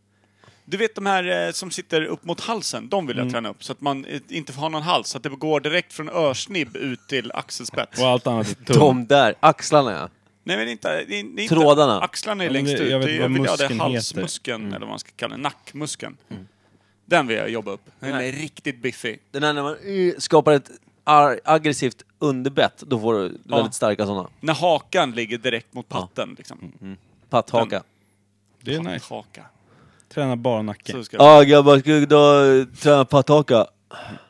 [SPEAKER 3] Du vet de här eh, som sitter upp mot halsen, de vill jag träna upp. Så att man eh, inte får ha någon hals, så att det går direkt från örsnibb ut till axelspets.
[SPEAKER 2] Och allt annat är tunt.
[SPEAKER 1] De där, axlarna ja.
[SPEAKER 3] Nej men inte... det är- det är inte
[SPEAKER 1] Trådarna.
[SPEAKER 3] Axlarna är
[SPEAKER 2] Ja, men
[SPEAKER 3] längst
[SPEAKER 2] det-
[SPEAKER 3] ut.
[SPEAKER 2] jag vet
[SPEAKER 3] det,
[SPEAKER 2] inte
[SPEAKER 3] jag
[SPEAKER 2] vad
[SPEAKER 3] vill ha det
[SPEAKER 2] muskeln Mm.
[SPEAKER 3] halsmuskeln, eller vad man ska kalla det, nackmuskeln. Den vill jag jobba upp. Den är
[SPEAKER 1] Nej.
[SPEAKER 3] riktigt biffig.
[SPEAKER 1] Den här när man eh, skapar ett ar- aggressivt underbett, då får du
[SPEAKER 3] Ja.
[SPEAKER 1] väldigt starka sådana.
[SPEAKER 3] När hakan ligger direkt mot patten. Liksom.
[SPEAKER 1] Patthaka.
[SPEAKER 2] Mm, Det är nice.
[SPEAKER 3] Haka.
[SPEAKER 2] Träna bara nacken.
[SPEAKER 3] Så ska
[SPEAKER 1] Ja ah, grabbar, ska vi då träna patthaka?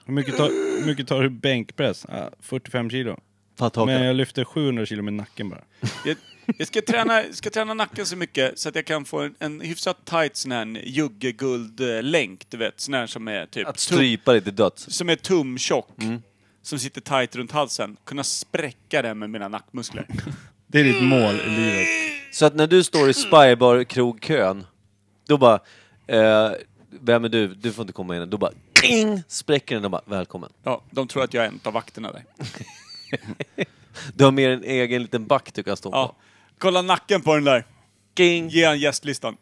[SPEAKER 2] Hur mycket tar, hur mycket tar du bänkpress? Ah, 45 kilo.
[SPEAKER 1] Patthaka.
[SPEAKER 2] Men jag lyfter 700 kilo med nacken bara.
[SPEAKER 3] Jag, jag ska, träna, ska träna nacken så mycket så att jag kan få en, en hyfsat tight sån här juggeguldlänk, du vet. Sån här som är
[SPEAKER 1] Att
[SPEAKER 3] typ...
[SPEAKER 1] Mm.
[SPEAKER 3] tum-
[SPEAKER 1] strypa dig till döds.
[SPEAKER 3] som är tumtjock. Som sitter tight runt halsen. Kunna spräcka den med mina nackmuskler.
[SPEAKER 2] Det är ditt mål i livet.
[SPEAKER 1] Så att när du
[SPEAKER 3] Mm.
[SPEAKER 1] står i spybar krogkön då bara... Eh, vem är du? Du får inte komma in. Då bara... Kling, spräcker den och bara, välkommen.
[SPEAKER 3] Ja, de tror att jag är en av vakterna där.
[SPEAKER 1] Du har med en egen liten back du kan stå på.
[SPEAKER 3] Ja. Kolla nacken på den där.
[SPEAKER 1] Kling.
[SPEAKER 3] Ge han gästlistan.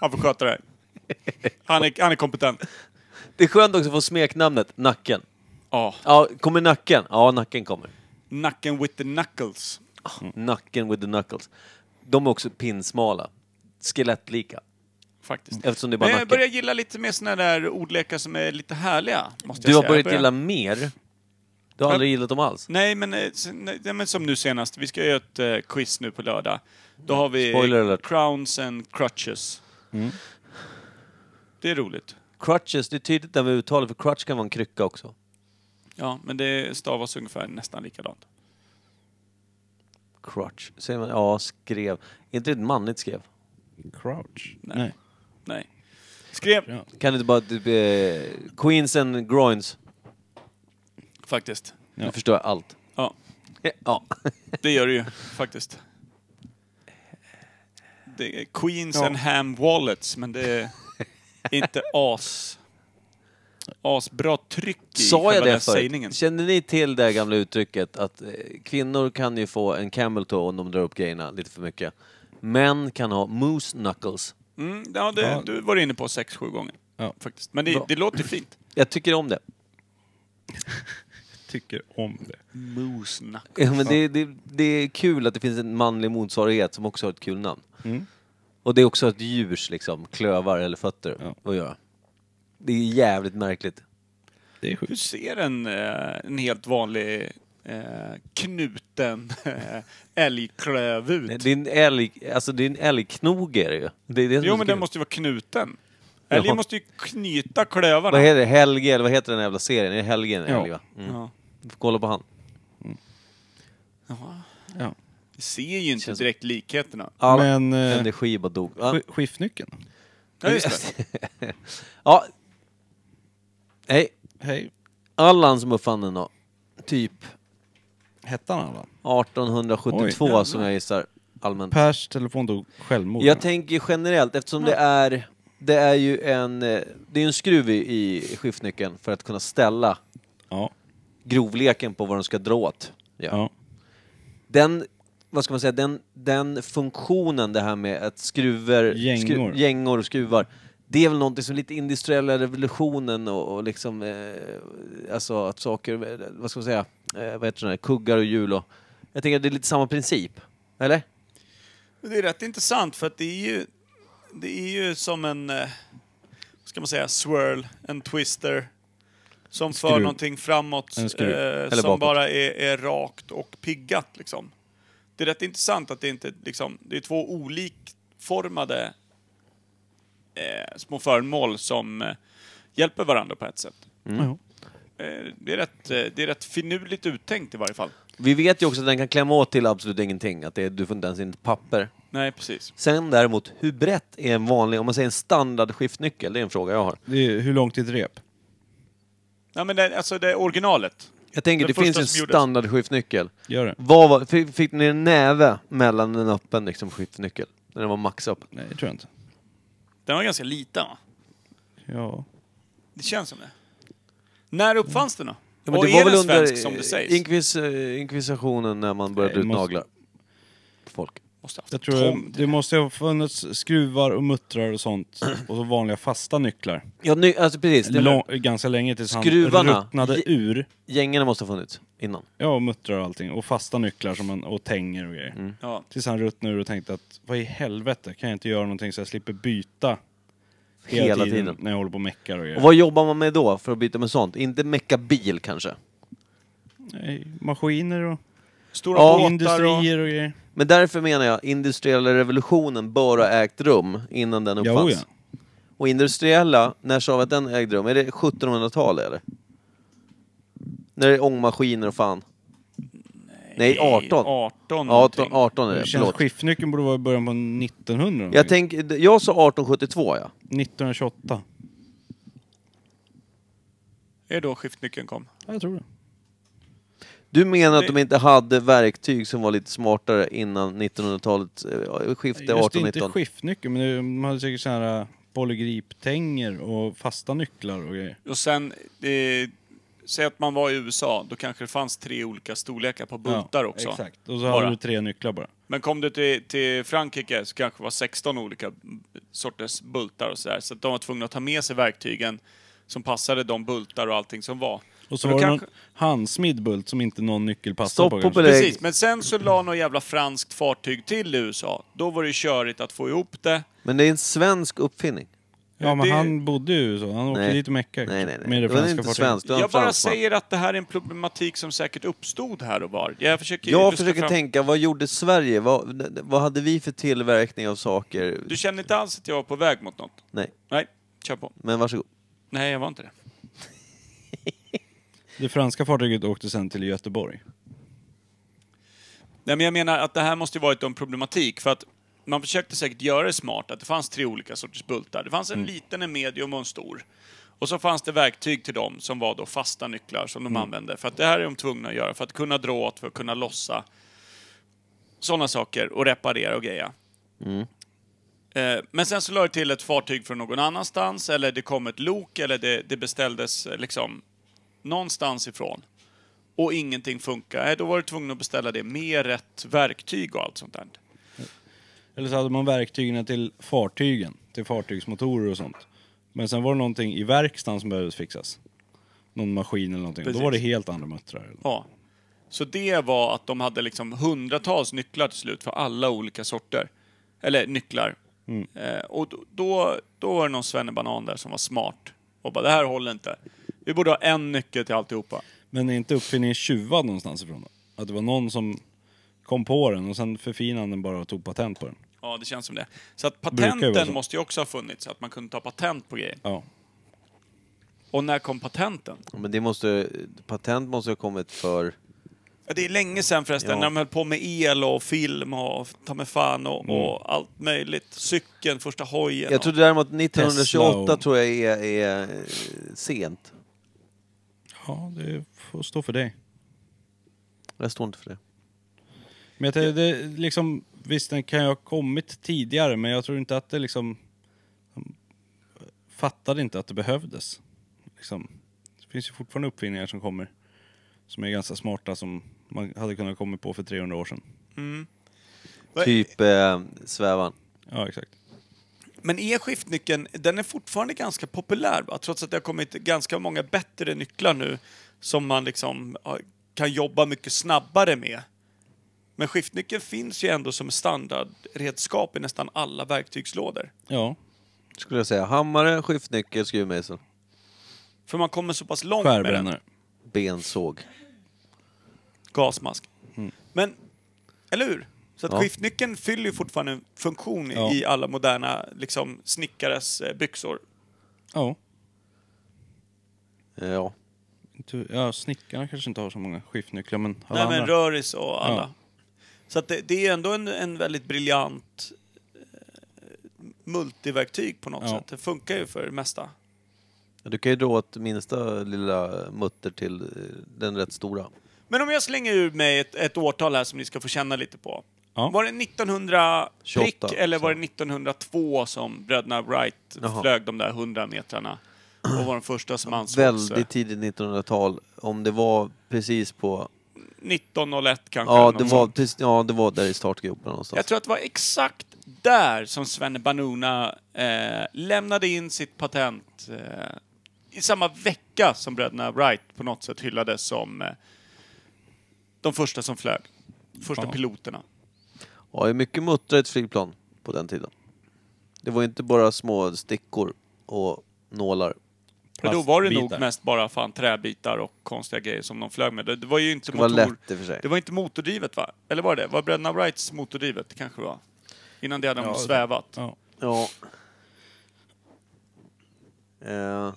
[SPEAKER 3] Han får sköta det här. Han är, han är kompetent.
[SPEAKER 1] Det är skönt också att få smeknamnet Nacken.
[SPEAKER 3] Ja.
[SPEAKER 1] Ja, kommer Nacken? Ja, Nacken kommer.
[SPEAKER 3] Nacken with the knuckles. Mm.
[SPEAKER 1] Nacken with the knuckles. De är också pinsmala. Skelettlika.
[SPEAKER 3] Faktiskt.
[SPEAKER 1] Eftersom det är bara
[SPEAKER 3] Men jag
[SPEAKER 1] nacken.
[SPEAKER 3] börjar gilla lite mer såna där ordlekar som är lite härliga, måste
[SPEAKER 1] Du
[SPEAKER 3] jag
[SPEAKER 1] har
[SPEAKER 3] säga.
[SPEAKER 1] börjat
[SPEAKER 3] Jag börjar-
[SPEAKER 1] gilla mer. Du har aldrig gillat dem alls.
[SPEAKER 3] Nej men, eh, s- nej, nej, men som nu senast, vi ska göra ett eh, quiz nu på lördag. Då har vi
[SPEAKER 1] Spoiler alert. Mm.
[SPEAKER 3] crowns and crutches. Det är roligt.
[SPEAKER 1] Crutches, det är tydligt där med uttalet för crutch kan vara en krycka också.
[SPEAKER 3] Ja, men det stavas ungefär nästan likadant.
[SPEAKER 1] Crutch. Säger man, ja, skrev. Är inte det ett manligt skrev?
[SPEAKER 2] Crouch?
[SPEAKER 3] Nej.
[SPEAKER 2] Nej.
[SPEAKER 3] Nej. Skrev
[SPEAKER 2] Ja.
[SPEAKER 1] Kan du inte bara... typ, Eh, queens and groins.
[SPEAKER 3] faktiskt.
[SPEAKER 1] Nu förstår jag allt.
[SPEAKER 3] Ja,
[SPEAKER 1] Ja.
[SPEAKER 3] det gör det ju faktiskt. Det är Queens
[SPEAKER 2] Ja.
[SPEAKER 3] and ham wallets, men det är inte as... Asbra tryck i
[SPEAKER 1] Sa jag
[SPEAKER 3] själva
[SPEAKER 1] det
[SPEAKER 3] den
[SPEAKER 1] förut?
[SPEAKER 3] sägningen.
[SPEAKER 1] Kände ni till det här gamla uttrycket att eh, kvinnor kan ju få en camel toe om de drar upp grejerna lite för mycket. Män kan ha moose knuckles.
[SPEAKER 3] Mm, ja, det,
[SPEAKER 2] Ja.
[SPEAKER 3] du var inne på sex, sju gånger.
[SPEAKER 2] Ja.
[SPEAKER 3] Faktiskt. Men det,
[SPEAKER 1] Bra.
[SPEAKER 3] det låter fint.
[SPEAKER 1] Jag tycker om det.
[SPEAKER 2] Tycker om det.
[SPEAKER 3] Moosnack.
[SPEAKER 1] Ja, men det, det, det är kul att det finns en manlig motsvarighet som också har ett kul namn. Och det är också ett djurs liksom, klövar eller fötter
[SPEAKER 2] Ja.
[SPEAKER 1] att göra. Det är jävligt märkligt.
[SPEAKER 2] Det är
[SPEAKER 3] Hur
[SPEAKER 2] sjukt.
[SPEAKER 3] ser en, eh, en helt vanlig eh, knuten eh, älgklöv ut?
[SPEAKER 1] Nej, Det är en älg, alltså det är en älgknog är det ju. Det är det som
[SPEAKER 3] jo,
[SPEAKER 1] är så kul.
[SPEAKER 3] men den måste ju vara knuten.
[SPEAKER 1] Ja.
[SPEAKER 3] Älgen måste ju knyta klövarna.
[SPEAKER 1] Vad heter det? Helge, eller vad heter den jävla serien? Är det Helge en
[SPEAKER 2] Ja.
[SPEAKER 1] älg va? Mm.
[SPEAKER 3] Ja.
[SPEAKER 1] Får kolla på han.
[SPEAKER 2] Ja.
[SPEAKER 3] Vi ser ju inte
[SPEAKER 1] Känns-
[SPEAKER 3] direkt likheterna.
[SPEAKER 1] All
[SPEAKER 2] Men, eh,
[SPEAKER 1] energi bara dog. Ja.
[SPEAKER 2] Sk- Skiftnyckeln?
[SPEAKER 3] Ja, just det.
[SPEAKER 1] Ja. Nej,
[SPEAKER 2] Hej.
[SPEAKER 1] Allan som uppfann den då. Typ
[SPEAKER 2] Hette han Allan?
[SPEAKER 1] 1872
[SPEAKER 2] Oj.
[SPEAKER 1] som jag gissar allmänt.
[SPEAKER 2] Pers telefon dog självmord.
[SPEAKER 1] Jag tänker generellt eftersom det är det är ju en, eh, det är en skruv i, i skiftnyckeln för att kunna ställa
[SPEAKER 2] ja.
[SPEAKER 1] grovleken på vad de ska dra åt. Ja.
[SPEAKER 2] ja.
[SPEAKER 1] Den, vad ska man säga, den, den funktionen det här med att skruvar,
[SPEAKER 2] Gängor.
[SPEAKER 1] gängor och skruvar, det är väl någonting som lite industriella revolutionen och, och liksom, eh, alltså att saker, eh, vad ska man säga, eh, vad heter det, kuggar och hjul och, jag tänker att det är lite samma princip, eller?
[SPEAKER 3] Det är rätt intressant för att det är ju, det är ju som en, eh, vad ska man säga, swirl, en twister. Som för
[SPEAKER 2] Skruv.
[SPEAKER 3] någonting framåt
[SPEAKER 2] En skruv.
[SPEAKER 3] eh, som
[SPEAKER 1] Eller bakåt.
[SPEAKER 3] bara är, är rakt och piggat liksom. Det är rätt intressant att det inte liksom, det är två olikformade eh, små föremål som eh, hjälper varandra på ett sätt.
[SPEAKER 1] Mm.
[SPEAKER 2] Ja.
[SPEAKER 3] Eh, det, är rätt, eh, det är rätt finurligt uttänkt i varje fall.
[SPEAKER 1] Vi vet ju också att den kan klämma åt till absolut ingenting, att det är, du får inte ens in ett papper.
[SPEAKER 3] Nej, precis.
[SPEAKER 1] Sen däremot, hur brett är en vanlig, om man säger en standard skiftnyckel, det är en fråga jag har.
[SPEAKER 2] Det är, hur långt är ett rep?
[SPEAKER 3] Ja, men det, alltså det är originalet.
[SPEAKER 1] Jag tänker,
[SPEAKER 3] Den
[SPEAKER 1] det finns
[SPEAKER 3] första
[SPEAKER 1] ju en
[SPEAKER 3] som gjordes.
[SPEAKER 1] standard skiftnyckel.
[SPEAKER 2] Gör det?
[SPEAKER 1] Vad var, fick, fick ni en näve mellan en öppen liksom, skiftnyckel? När den var max öppen?
[SPEAKER 2] Nej, det tror jag inte.
[SPEAKER 3] Den var ganska liten va?
[SPEAKER 2] Ja.
[SPEAKER 3] Det känns som det. När uppfanns den då?
[SPEAKER 1] men
[SPEAKER 3] Och
[SPEAKER 1] det
[SPEAKER 3] är
[SPEAKER 1] var
[SPEAKER 3] den
[SPEAKER 1] väl under
[SPEAKER 3] svensk som det sägs?
[SPEAKER 1] inkvis, eh, inkvisitionen när man började
[SPEAKER 2] Nej,
[SPEAKER 1] ut
[SPEAKER 2] måste-
[SPEAKER 1] naglar på folk.
[SPEAKER 3] Måste haft
[SPEAKER 2] Jag
[SPEAKER 3] en
[SPEAKER 2] tror
[SPEAKER 3] tom.
[SPEAKER 2] det måste ha funnits skruvar och muttrar och sånt. Och så vanliga fasta nycklar.
[SPEAKER 1] Ja, ny, alltså precis. Det,
[SPEAKER 2] Lång, ganska länge tills han
[SPEAKER 1] Skruvarna.
[SPEAKER 2] ruttnade ur.
[SPEAKER 1] Gängarna måste ha funnits innan.
[SPEAKER 2] Ja, och muttrar och allting. Och fasta nycklar som man, och tänger och grejer.
[SPEAKER 1] Mm.
[SPEAKER 3] Ja.
[SPEAKER 2] Tills han ruttnade ur och tänkte att vad i helvete, kan jag inte göra någonting så jag slipper byta hela,
[SPEAKER 1] Hela
[SPEAKER 2] tiden,
[SPEAKER 1] tiden.
[SPEAKER 2] när jag håller på och meckar och grejer.
[SPEAKER 1] Och vad jobbar man med då för att byta med sånt? Inte mecka bil kanske?
[SPEAKER 2] Nej, Maskiner och
[SPEAKER 3] Stora båtar och...
[SPEAKER 2] industrier och grejer.
[SPEAKER 1] Men därför menar jag, industriella revolutionen bör ha ägt rum innan den
[SPEAKER 2] Ja,
[SPEAKER 1] uppfanns.
[SPEAKER 2] ja.
[SPEAKER 1] Och industriella, när sa vi att den ägde rum? Är det 1700-tal eller? När det är ångmaskiner och fan? Nej, 18.
[SPEAKER 3] 18,
[SPEAKER 1] 18,
[SPEAKER 3] 18
[SPEAKER 1] 18 är
[SPEAKER 2] Det
[SPEAKER 1] det,
[SPEAKER 2] känns
[SPEAKER 1] förlåt.
[SPEAKER 2] skiftnyckeln borde vara i början på 1900.
[SPEAKER 1] Jag, tänk, jag sa 1872 ja.
[SPEAKER 2] 1928.
[SPEAKER 3] Är då skiftnyckeln kom.
[SPEAKER 2] Ja, jag tror det.
[SPEAKER 1] Du menar att
[SPEAKER 3] Det-
[SPEAKER 1] de inte hade verktyg som var lite smartare innan 1900-talet eh, skifte
[SPEAKER 2] Just inte
[SPEAKER 1] 18-19?
[SPEAKER 2] skiftnyckel, men det- de hade säkert sådana här äh, polygriptänger och fasta nycklar och grejer.
[SPEAKER 3] Och sen, eh, säg att man var i USA, då kanske det fanns tre olika storlekar på bultar
[SPEAKER 2] Ja,
[SPEAKER 3] också.
[SPEAKER 2] Exakt, och så
[SPEAKER 3] Bara.
[SPEAKER 2] hade du tre nycklar bara.
[SPEAKER 3] Men kom du till, till Frankrike så kanske det var 16 olika sorters bultar och sådär. Så att de var tvungna att ta med sig verktygen som passade de bultar och allting som var.
[SPEAKER 2] Och så
[SPEAKER 3] Men
[SPEAKER 2] var
[SPEAKER 3] då
[SPEAKER 2] det
[SPEAKER 3] kanske-
[SPEAKER 2] någon handsmidd bult som inte någon nyckel passade
[SPEAKER 1] Stopp
[SPEAKER 2] på.
[SPEAKER 1] på
[SPEAKER 2] kanske.
[SPEAKER 1] belägg.
[SPEAKER 3] Precis, men sen så la något jävla franskt fartyg till i USA. Då var det körigt att få ihop det.
[SPEAKER 1] Men det är en svensk uppfinning.
[SPEAKER 2] Ja, men
[SPEAKER 3] Det-
[SPEAKER 2] han bodde ju så. Han åkte
[SPEAKER 1] Nej.
[SPEAKER 2] dit och meckade. liksom.
[SPEAKER 1] Nej, nej, nej.
[SPEAKER 2] Med det
[SPEAKER 1] Då är det
[SPEAKER 2] franska
[SPEAKER 1] inte
[SPEAKER 2] fartyget.
[SPEAKER 1] svenskt, då är
[SPEAKER 3] Jag
[SPEAKER 1] han
[SPEAKER 3] bara
[SPEAKER 1] fransman.
[SPEAKER 3] säger att det här är en problematik som säkert uppstod här och var. Jag försöker
[SPEAKER 1] Jag
[SPEAKER 3] illustrera
[SPEAKER 1] försöker
[SPEAKER 3] fram-
[SPEAKER 1] tänka, vad gjorde Sverige? Vad, vad hade vi för tillverkning av saker?
[SPEAKER 3] Du känner inte alls att jag var på väg mot något?
[SPEAKER 1] Nej,
[SPEAKER 3] Nej, kör på.
[SPEAKER 1] men varsågod.
[SPEAKER 3] Nej, jag var inte det.
[SPEAKER 2] Det franska fartyget åkte sen till Göteborg.
[SPEAKER 3] Nej, men jag menar att det här måste ju varit en problematik för att man försökte säkert göra det smart att det fanns tre olika sorters bultar. Det fanns en liten, en medium och en stor. Och så fanns det verktyg till dem som var då fasta nycklar som de använde. För att det här är de tvungna att göra för att kunna dra åt, för att kunna lossa. Sådana saker och reparera och greja. Eh, Men sen så lade det till ett fartyg från någon annanstans eller det kom ett lok eller det, det beställdes eh, liksom någonstans ifrån och ingenting funkar, nej, då var du tvungen att beställa det med rätt verktyg och allt sånt där.
[SPEAKER 2] Eller så hade man verktygen till fartygen, till fartygsmotorer och sånt. Men sen var det någonting i verkstaden som behövde fixas. Någon maskin eller någonting.
[SPEAKER 3] Precis.
[SPEAKER 2] Då var det helt andra muttrar.
[SPEAKER 3] Ja. Så det var att de hade liksom hundratals nycklar till slut för alla olika sorter. Eller nycklar.
[SPEAKER 2] Mm.
[SPEAKER 3] Eh, och då- då, då var det någon svennebanan där som var smart och bara, det här håller inte. Vi borde ha en nyckel till alltihopa.
[SPEAKER 2] Men är inte uppfinningen tjuvad någonstans ifrån då? Att det var någon som kom på den och sen förfinade han den bara och tog patent på den.
[SPEAKER 3] Ja, det känns som det. Så att
[SPEAKER 2] ju vara
[SPEAKER 3] patenten
[SPEAKER 2] så.
[SPEAKER 3] måste ju också ha funnits, att man kunde ta patent på grejer.
[SPEAKER 2] Ja.
[SPEAKER 3] Och när kom patenten?
[SPEAKER 1] Men det måste, patent måste ha kommit för...
[SPEAKER 3] Ja, det är länge sedan förresten,
[SPEAKER 1] Ja.
[SPEAKER 3] när de höll på med el och film och ta mig fan och, och allt möjligt. Cykeln, första hojen.
[SPEAKER 1] Mm. Jag
[SPEAKER 3] och-
[SPEAKER 1] tror däremot 1928
[SPEAKER 2] Tesla och-
[SPEAKER 1] tror jag är, är eh, sent.
[SPEAKER 2] ja, det får stå för dig.
[SPEAKER 1] Jag står inte för det.
[SPEAKER 2] Men jag tänkte, det, liksom, visst den kan ju ha kommit tidigare men jag tror inte att det liksom... de Fattade inte att det behövdes. Liksom. Det finns ju fortfarande uppfinningar som kommer som är ganska smarta som man hade kunnat komma på för 300 år sedan.
[SPEAKER 3] Va-
[SPEAKER 1] Typ eh, svävan.
[SPEAKER 2] Ja, exakt.
[SPEAKER 3] Men är skiftnyckeln, den är fortfarande ganska populär va? Trots att det har kommit ganska många bättre nycklar nu som man liksom ja, kan jobba mycket snabbare med. Men skiftnyckeln finns ju ändå som standardredskap i nästan alla verktygslådor.
[SPEAKER 2] Ja,
[SPEAKER 1] Skulle jag säga. Hammare, skiftnyckel, skruvmejsel,
[SPEAKER 3] För man kommer så pass långt med den.
[SPEAKER 2] skärbrännare.
[SPEAKER 1] bensåg.
[SPEAKER 3] gasmask.
[SPEAKER 2] Mm.
[SPEAKER 3] Men, eller hur? Så att
[SPEAKER 1] Ja.
[SPEAKER 3] skiftnyckeln fyller ju fortfarande en funktion i-
[SPEAKER 2] Ja.
[SPEAKER 3] i alla moderna liksom, snickares eh, byxor.
[SPEAKER 2] Ja.
[SPEAKER 1] Eh, Ja.
[SPEAKER 2] Inte- ja, snickarna kanske inte har så många skiftnycklar men alla
[SPEAKER 3] Nej, men
[SPEAKER 2] andra.
[SPEAKER 3] röris och alla. Så att det, det är ändå en, en väldigt briljant eh, multiverktyg på något
[SPEAKER 2] Ja.
[SPEAKER 3] sätt. Det funkar ju för det mesta.
[SPEAKER 1] Du kan ju dra åt minsta lilla mutter till eh, den rätt stora.
[SPEAKER 3] Men om jag slänger ur mig ett, ett årtal här som ni ska få känna lite på.
[SPEAKER 2] Ja.
[SPEAKER 3] Var det 1900 prick
[SPEAKER 1] 28,
[SPEAKER 3] eller var
[SPEAKER 1] så.
[SPEAKER 3] det 1902 som bröderna Wright
[SPEAKER 1] Jaha.
[SPEAKER 3] flög de där 100 metrarna? och var den första som ansågs. eh,
[SPEAKER 1] Väldigt tidigt 1900-tal, om det var precis på...
[SPEAKER 3] 1901 kanske. eller
[SPEAKER 1] Ja
[SPEAKER 3] något
[SPEAKER 1] det var,
[SPEAKER 3] sånt.
[SPEAKER 1] precis, ja, det var där i startgropen någonstans.
[SPEAKER 3] Jag tror att det var exakt där som Svenne Banuna eh, lämnade in sitt patent eh, i samma vecka som bröderna Wright på något sätt hyllades som eh, de första som flög. Första piloterna.
[SPEAKER 1] Ja, det är mycket muttrar i ett flygplan på den tiden. Det var inte bara små stickor och nålar.
[SPEAKER 3] Men då var det nog
[SPEAKER 2] Plastbitar.
[SPEAKER 3] mest bara fan träbitar och konstiga grejer som de flög med. Det, det var ju inte
[SPEAKER 1] Det var
[SPEAKER 3] motor...
[SPEAKER 1] lätt i och för sig.
[SPEAKER 3] Det var inte motordrivet va? Eller var det? Var bröderna Wrights motordrivet? Det kanske det var. Innan det hade de
[SPEAKER 2] Ja, det-
[SPEAKER 3] svävat.
[SPEAKER 2] Ja.
[SPEAKER 1] Ja. Eh,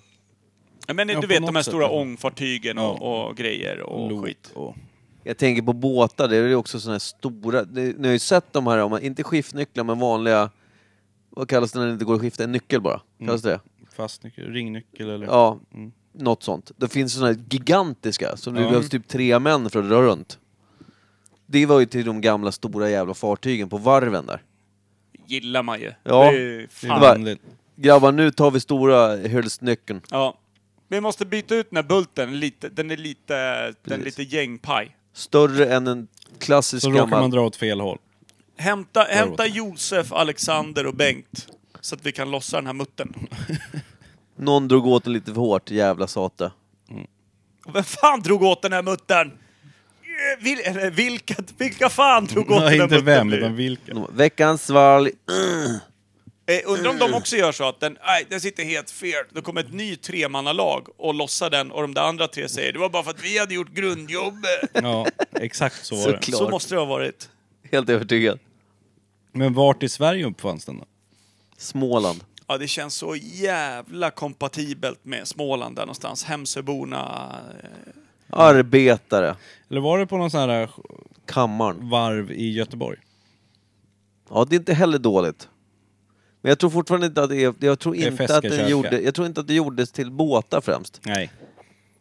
[SPEAKER 3] Ja, Men
[SPEAKER 2] Ja,
[SPEAKER 3] du
[SPEAKER 2] på
[SPEAKER 3] vet
[SPEAKER 2] något
[SPEAKER 3] de här
[SPEAKER 2] sätt,
[SPEAKER 3] stora
[SPEAKER 2] ja.
[SPEAKER 3] ångfartygen och, och grejer och
[SPEAKER 2] Lok
[SPEAKER 3] skit.
[SPEAKER 2] och...
[SPEAKER 1] jag tänker på båtar, det är ju också sådana här stora... Ni, ni har ju sett de här, om man- inte skiftnycklar men vanliga... Vad kallas det när det inte går att skifta? En nyckel bara? Kallas det det?
[SPEAKER 2] Fastnyckel, ringnyckel eller...
[SPEAKER 1] Ja,
[SPEAKER 2] Mm.
[SPEAKER 1] något sånt. Det finns sådana här gigantiska som det
[SPEAKER 2] Ja.
[SPEAKER 1] behövs typ tre män för att dra runt. Det var ju till de gamla stora jävla fartygen på varven där.
[SPEAKER 3] Gillar man ju.
[SPEAKER 1] Ja.
[SPEAKER 3] Det är
[SPEAKER 2] Det
[SPEAKER 3] fan.
[SPEAKER 2] är
[SPEAKER 1] var-
[SPEAKER 2] vanligt.
[SPEAKER 1] Grabbar, nu tar vi stora hylsnyckeln.
[SPEAKER 3] Ja. Vi måste byta ut den här bulten lite. Den är lite, den är lite gängpaj.
[SPEAKER 1] Större än en klassisk
[SPEAKER 2] Så råkar
[SPEAKER 1] gammal...
[SPEAKER 2] man dra åt fel håll.
[SPEAKER 3] Hämta, hämta Josef, Alexander och Bengt. Så att vi kan lossa den här muttern.
[SPEAKER 1] Någon drog åt den lite för hårt, jävla sate.
[SPEAKER 3] Och vem fan drog åt den här muttern? Eh, Vil, eller vilka, vilka fan drog åt
[SPEAKER 2] Nej,
[SPEAKER 3] den
[SPEAKER 2] inte
[SPEAKER 3] här muttern?
[SPEAKER 2] vem,
[SPEAKER 3] blir det?
[SPEAKER 2] utan vilken.
[SPEAKER 1] De bara, Veckans svalg.
[SPEAKER 3] Eh, undrar om de också gör så att den, nej, den sitter helt fel. Då kommer ett ny tremannalag och lossar den och de där andra tre säger det var bara för att vi hade gjort grundjobbet.
[SPEAKER 2] Ja, exakt så var det.
[SPEAKER 1] Såklart.
[SPEAKER 3] Så måste det ha varit.
[SPEAKER 1] Helt övertygad.
[SPEAKER 2] Men vart i Sverige uppfanns den då?
[SPEAKER 1] Småland.
[SPEAKER 3] Ja, det känns så jävla kompatibelt med Småland där någonstans. Hemsöborna. eh,
[SPEAKER 1] Arbetare.
[SPEAKER 2] Eller var det på någon sån här eh,
[SPEAKER 1] Kammaren.
[SPEAKER 2] varv i Göteborg?
[SPEAKER 1] Ja, det är inte heller dåligt. Men jag tror fortfarande inte att det är... Jag tror
[SPEAKER 2] Det är
[SPEAKER 1] inte att den
[SPEAKER 2] feskekärka.
[SPEAKER 1] gjorde... Jag tror inte att det gjordes till båtar främst.
[SPEAKER 2] Nej.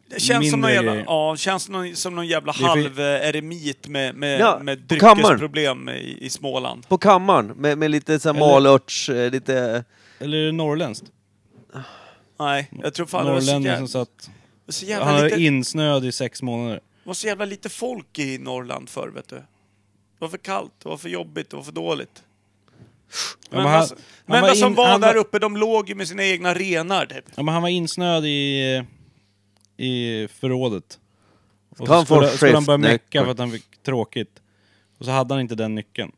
[SPEAKER 3] Det känns, som någon,
[SPEAKER 2] Mindre
[SPEAKER 3] jävla,
[SPEAKER 2] grejer.
[SPEAKER 3] ja, känns som, någon, som någon jävla
[SPEAKER 2] Det är för-
[SPEAKER 3] halv eh, eremit med, med,
[SPEAKER 1] Ja,
[SPEAKER 3] med
[SPEAKER 1] på kammaren.
[SPEAKER 3] dryckesproblem i, i Småland.
[SPEAKER 1] På kammaren, med, med lite så här
[SPEAKER 2] Eller-
[SPEAKER 1] malörts... eh, Lite...
[SPEAKER 2] Eller är det norrländskt?
[SPEAKER 3] Nej, jag tror fan det var så
[SPEAKER 2] Norrlänningen
[SPEAKER 3] jävla,
[SPEAKER 2] som satt...
[SPEAKER 3] så
[SPEAKER 2] Han
[SPEAKER 3] jävla,
[SPEAKER 2] var
[SPEAKER 3] lite,
[SPEAKER 2] insnöad i sex månader.
[SPEAKER 3] det var så jävla lite folk i Norrland förr, vet du. Det var för kallt, det var för jobbigt, det var för dåligt. Men,
[SPEAKER 2] men
[SPEAKER 3] vad
[SPEAKER 2] han-
[SPEAKER 3] s-
[SPEAKER 2] han
[SPEAKER 3] men
[SPEAKER 2] var
[SPEAKER 3] vad som
[SPEAKER 2] in-
[SPEAKER 3] var
[SPEAKER 2] han
[SPEAKER 3] där
[SPEAKER 2] var-
[SPEAKER 3] uppe, de låg ju med sina egna renar, typ.
[SPEAKER 2] Ja, men han var insnöad i, i förrådet. Och
[SPEAKER 1] Ta en
[SPEAKER 2] så skulle,
[SPEAKER 1] Ford
[SPEAKER 2] skulle han
[SPEAKER 1] Swift,
[SPEAKER 2] börja mecka
[SPEAKER 1] nyckeln.
[SPEAKER 2] för att han fick tråkigt. Och så hade han inte den nyckeln.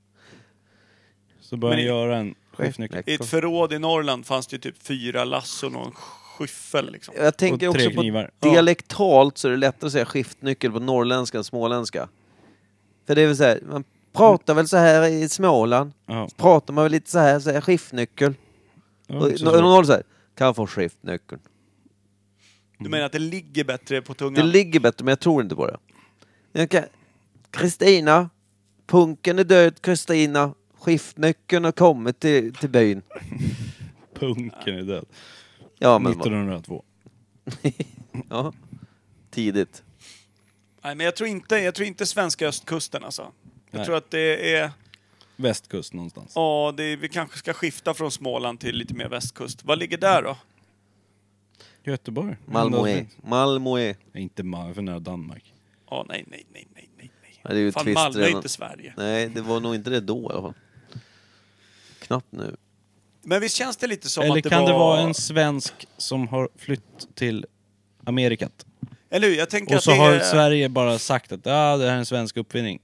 [SPEAKER 2] Så började
[SPEAKER 3] Men
[SPEAKER 2] han
[SPEAKER 3] i-
[SPEAKER 2] göra en skiftnyckel.
[SPEAKER 3] I ett förråd i Norrland fanns det ju typ fyra lass och någon skyffel, liksom.
[SPEAKER 1] Jag tänker
[SPEAKER 2] Och tre
[SPEAKER 1] också på
[SPEAKER 2] knivar.
[SPEAKER 1] dialektalt så är det lättare att säga skiftnyckel på norrländska än småländska. För det är väl så här, man pratar väl så här i Småland,
[SPEAKER 2] Ja,
[SPEAKER 1] pratar man väl lite så här, så här skiftnyckel.
[SPEAKER 2] det
[SPEAKER 1] Ja,
[SPEAKER 2] var
[SPEAKER 1] och
[SPEAKER 2] också
[SPEAKER 1] någon
[SPEAKER 2] så.
[SPEAKER 1] någon håller så här, kan få skiftnyckeln.
[SPEAKER 3] Du menar att det ligger bättre på
[SPEAKER 1] Det
[SPEAKER 3] tungan?
[SPEAKER 1] ligger bättre, men jag tror inte på det. Jag kan- Kristina, punken är död Kristina, skiftnyckeln har kommit till, till byn.
[SPEAKER 2] Punken är död.
[SPEAKER 1] Ja, men,
[SPEAKER 2] 1902.
[SPEAKER 1] ja, tidigt.
[SPEAKER 3] Nej, men jag tror inte, jag tror inte svenska östkusten alltså. Jag
[SPEAKER 2] Nej.
[SPEAKER 3] tror att det är,
[SPEAKER 2] Västkust någonstans.
[SPEAKER 3] ja, det är, vi kanske ska skifta från Småland till lite mer västkust. Vad ligger där då?
[SPEAKER 2] Göteborg.
[SPEAKER 1] Malmö, Malmö.
[SPEAKER 2] Nej, inte Malmö, för nära Danmark.
[SPEAKER 3] Ja, nej, nej, nej, nej, nej, nej.
[SPEAKER 1] Ja, det är ju
[SPEAKER 3] Fan,
[SPEAKER 1] twist
[SPEAKER 3] Malmö är
[SPEAKER 1] redan.
[SPEAKER 3] inte Sverige.
[SPEAKER 1] Nej, det var nog inte det då i alla fall. Knappt nu.
[SPEAKER 3] Men visst känns det lite som
[SPEAKER 2] Eller
[SPEAKER 3] att det
[SPEAKER 2] kan
[SPEAKER 3] var...
[SPEAKER 2] det vara en svensk som har flytt till Amerikat?
[SPEAKER 3] Eller hur? Jag tänker
[SPEAKER 2] Och
[SPEAKER 3] att
[SPEAKER 2] så
[SPEAKER 3] det
[SPEAKER 2] har
[SPEAKER 3] är...
[SPEAKER 2] Sverige bara sagt att ah, det här är en svensk uppfinning.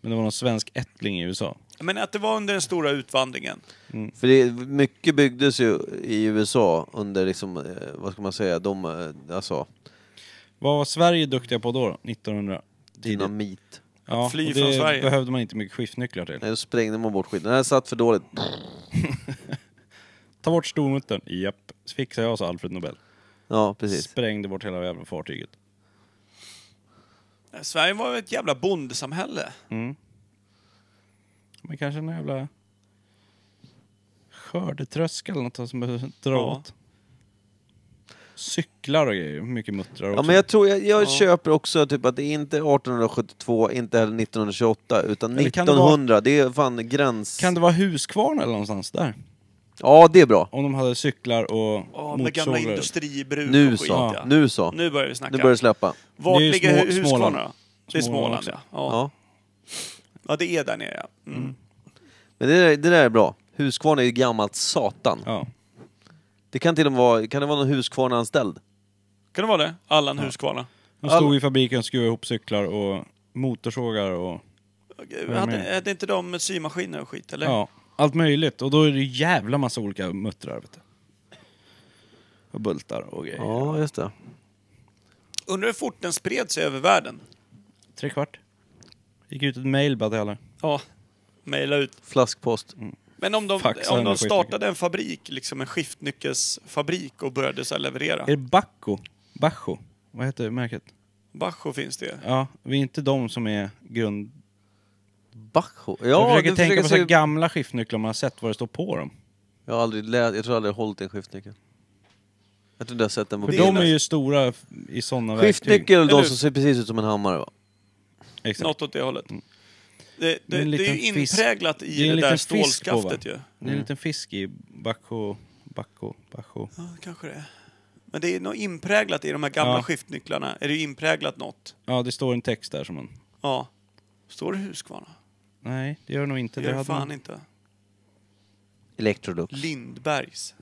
[SPEAKER 2] Men det var någon svensk ättling i USA.
[SPEAKER 3] Men att det var under den stora utvandringen.
[SPEAKER 1] För det, mycket byggdes ju i USA under, liksom, eh, vad ska man säga, de, eh, alltså,
[SPEAKER 2] Vad var Sverige duktiga på då? 1900?
[SPEAKER 1] dynamit.
[SPEAKER 2] Ja,
[SPEAKER 3] fly
[SPEAKER 2] och
[SPEAKER 3] från
[SPEAKER 2] det
[SPEAKER 3] Sverige.
[SPEAKER 2] behövde man inte mycket skiftnycklar till.
[SPEAKER 1] Nej, då sprängde man bort skiten. Den här satt för dåligt.
[SPEAKER 2] Ta bort stormuttern. Japp. Fixar jag, sa Alfred Nobel.
[SPEAKER 1] Ja, precis.
[SPEAKER 2] Sprängde bort hela jävla fartyget.
[SPEAKER 3] Nej, Sverige var ju ett jävla bondesamhälle.
[SPEAKER 2] Men kanske en jävla skördetröska eller något som behöver dra
[SPEAKER 3] Ja.
[SPEAKER 2] åt. Cyklar och grejer. Mycket muttrar också.
[SPEAKER 1] Ja, men jag tror, jag, jag köper också typ att det är inte 1872, inte heller 1928, utan
[SPEAKER 2] Eller kan det vara-
[SPEAKER 1] 1900. Det är fan gräns...
[SPEAKER 2] Kan det vara Huskvarna eller någonstans där?
[SPEAKER 1] Ja, det är bra.
[SPEAKER 2] Om de hade cyklar och
[SPEAKER 3] Ja, med gamla
[SPEAKER 2] motorsågar.
[SPEAKER 3] industribruk
[SPEAKER 1] Nu
[SPEAKER 3] och skit.
[SPEAKER 1] så.
[SPEAKER 3] Ja.
[SPEAKER 1] Nu så.
[SPEAKER 3] Nu börjar vi snacka.
[SPEAKER 1] Nu börjar det släppa.
[SPEAKER 3] Vart
[SPEAKER 2] Det är ju
[SPEAKER 3] ligger
[SPEAKER 2] Små-
[SPEAKER 3] Små,
[SPEAKER 2] Småland.
[SPEAKER 3] Husqvarna? Det är
[SPEAKER 2] Småland
[SPEAKER 3] Småland,
[SPEAKER 2] också.
[SPEAKER 3] ja. Ja.
[SPEAKER 1] Ja.
[SPEAKER 3] ja. det är där nere, ja. Mm.
[SPEAKER 1] Men det där, det där är bra. Huskvarn är ju gammalt satan.
[SPEAKER 2] Ja.
[SPEAKER 1] Det kan till och med vara, kan det vara någon Huskvarn-anställd?
[SPEAKER 3] Kan det vara det? Allan Huskvarna.
[SPEAKER 2] De stod i fabriken och skruvade ihop cyklar och motorsågar och
[SPEAKER 3] Hade,
[SPEAKER 2] med?
[SPEAKER 3] hade inte de symaskiner och skit, eller?
[SPEAKER 2] ja, allt möjligt. Och då är det ju jävla massa olika muttrar vet du. Och bultar och grejer.
[SPEAKER 1] Ja, just det.
[SPEAKER 3] Undrar hur fort den spred sig över världen?
[SPEAKER 2] Tre kvart. Gick ut ett mail bara till alla.
[SPEAKER 3] Ja. Mejla ut.
[SPEAKER 1] Flaskpost.
[SPEAKER 2] Mm.
[SPEAKER 3] Men om de,
[SPEAKER 2] Faxa
[SPEAKER 3] om
[SPEAKER 2] den här
[SPEAKER 3] de
[SPEAKER 2] skiten.
[SPEAKER 3] startade en fabrik, liksom en skiftnyckelsfabrik och började så här leverera.
[SPEAKER 2] Är det Bacco? Bacho? Vad heter märket?
[SPEAKER 3] Bajo finns det
[SPEAKER 2] Ja, vi är inte de som är grund...
[SPEAKER 1] Bacho. Ja,
[SPEAKER 2] jag försöker
[SPEAKER 1] du
[SPEAKER 2] tänka på så här
[SPEAKER 1] se-
[SPEAKER 2] gamla skiftnycklar man har sett vad det står på dem.
[SPEAKER 1] Jag har aldrig lä- jag tror aldrig jag har hållit en skiftnyckel. Jag tror inte jag har sett den på
[SPEAKER 2] För
[SPEAKER 1] bild.
[SPEAKER 2] de är ju stora f- i sådana verktyg.
[SPEAKER 1] Skiftnyckel är
[SPEAKER 3] Eller
[SPEAKER 1] de
[SPEAKER 3] hur?
[SPEAKER 1] som ser precis ut som en hammare va?
[SPEAKER 2] Exakt.
[SPEAKER 3] Något åt det hållet. Det,
[SPEAKER 2] Mm. Det är
[SPEAKER 3] det,
[SPEAKER 2] en
[SPEAKER 3] det är ju
[SPEAKER 2] liten fisk.
[SPEAKER 3] inpräglat
[SPEAKER 2] Det är
[SPEAKER 3] i
[SPEAKER 2] en
[SPEAKER 3] det, där
[SPEAKER 2] liten fisk på, va?
[SPEAKER 3] stålskaftet ju.
[SPEAKER 2] Det
[SPEAKER 1] Mm.
[SPEAKER 2] är en liten fisk i Bacho... Bacho... Bacho...
[SPEAKER 3] Ja, kanske det. Men det är nog inpräglat i de här gamla
[SPEAKER 2] Ja.
[SPEAKER 3] skiftnycklarna. Är det ju inpräglat något?
[SPEAKER 2] Ja, det står en text där som man...
[SPEAKER 3] Ja. Står det Husqvarna?
[SPEAKER 2] Nej, det gör det nog inte.
[SPEAKER 3] Det
[SPEAKER 2] Det
[SPEAKER 3] gör det
[SPEAKER 2] hade
[SPEAKER 3] fan
[SPEAKER 2] man...
[SPEAKER 3] inte.
[SPEAKER 1] Electrolux.
[SPEAKER 3] Lindbergs.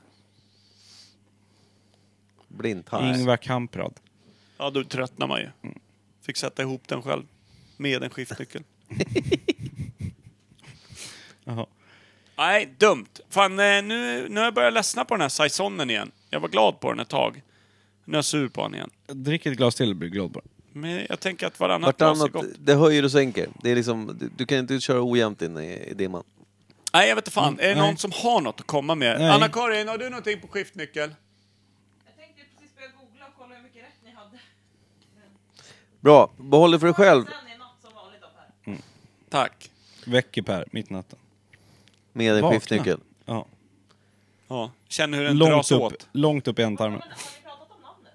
[SPEAKER 1] Blindtarm.
[SPEAKER 2] Ingvar Kamprad.
[SPEAKER 3] Ja, då tröttnar man ju.
[SPEAKER 2] Mm.
[SPEAKER 3] Fick sätta ihop den själv. Med en skiftnyckel.
[SPEAKER 2] Jaha.
[SPEAKER 3] Nej, dumt. Fan, eh, nu, nu har jag börjat ledsna på den här saisonen igen. Jag var glad på den ett tag. Nu är jag sur på den igen.
[SPEAKER 2] Drick ett glas till och bli glad bara.
[SPEAKER 3] Men jag tänker att varannat glas är
[SPEAKER 1] Vartannat,
[SPEAKER 3] gott.
[SPEAKER 1] det höjer och sänker. Det är liksom, du, du kan inte köra ojämnt in i, i dimman.
[SPEAKER 3] Nej, jag vet inte fan. Är det
[SPEAKER 2] Mm, nej.
[SPEAKER 3] någon som har något att komma med?
[SPEAKER 2] Nej.
[SPEAKER 3] Anna-Karin, har du någonting på skiftnyckel?
[SPEAKER 4] Jag tänkte precis börja googla och kolla hur mycket rätt ni hade.
[SPEAKER 1] Bra, behåll det för dig själv
[SPEAKER 4] Sen är något som vanligt av här.
[SPEAKER 3] Tack.
[SPEAKER 2] Väcker Per, mitt i natten.
[SPEAKER 1] med en
[SPEAKER 2] Vakna.
[SPEAKER 1] skiftnyckel.
[SPEAKER 2] Ja.
[SPEAKER 3] Ja. Känner hur den
[SPEAKER 2] Långt
[SPEAKER 3] dras
[SPEAKER 2] upp,
[SPEAKER 3] åt.
[SPEAKER 2] långt upp i ändtarmen.
[SPEAKER 4] Men har ni pratat om namnet?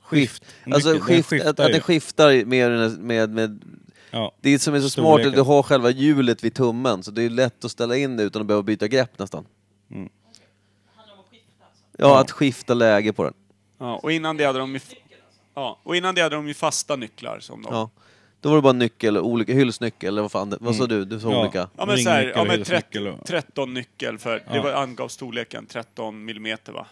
[SPEAKER 1] Skift. Alltså
[SPEAKER 2] Nyckeln, den
[SPEAKER 1] skift,
[SPEAKER 2] skiftar
[SPEAKER 1] att, att
[SPEAKER 2] ju.
[SPEAKER 1] den skiftar med, med, med...
[SPEAKER 2] Ja.
[SPEAKER 1] Det som är så smart är att du
[SPEAKER 2] Storleken.
[SPEAKER 1] har själva hjulet vid tummen, så det är lätt att ställa in det utan att behöva byta grepp nästan.
[SPEAKER 2] Mm.
[SPEAKER 4] Handlar om att skifta alltså.
[SPEAKER 1] Ja, att skifta läge på den.
[SPEAKER 3] Ja, och innan det hade de ju... Ja, och innan det hade de ju fasta nycklar som de... Ja.
[SPEAKER 1] Ja. Då var det bara nyckel, olika, hylsnyckel eller vad fan det, Vad sa du? Du sa
[SPEAKER 2] Mm. Ja.
[SPEAKER 1] olika.
[SPEAKER 3] men så här,
[SPEAKER 2] Ringnyckel
[SPEAKER 3] ja,
[SPEAKER 2] och
[SPEAKER 3] men
[SPEAKER 2] hylsnyckel och-
[SPEAKER 3] 13 nyckel för det var, angav storleken 13 millimeter va?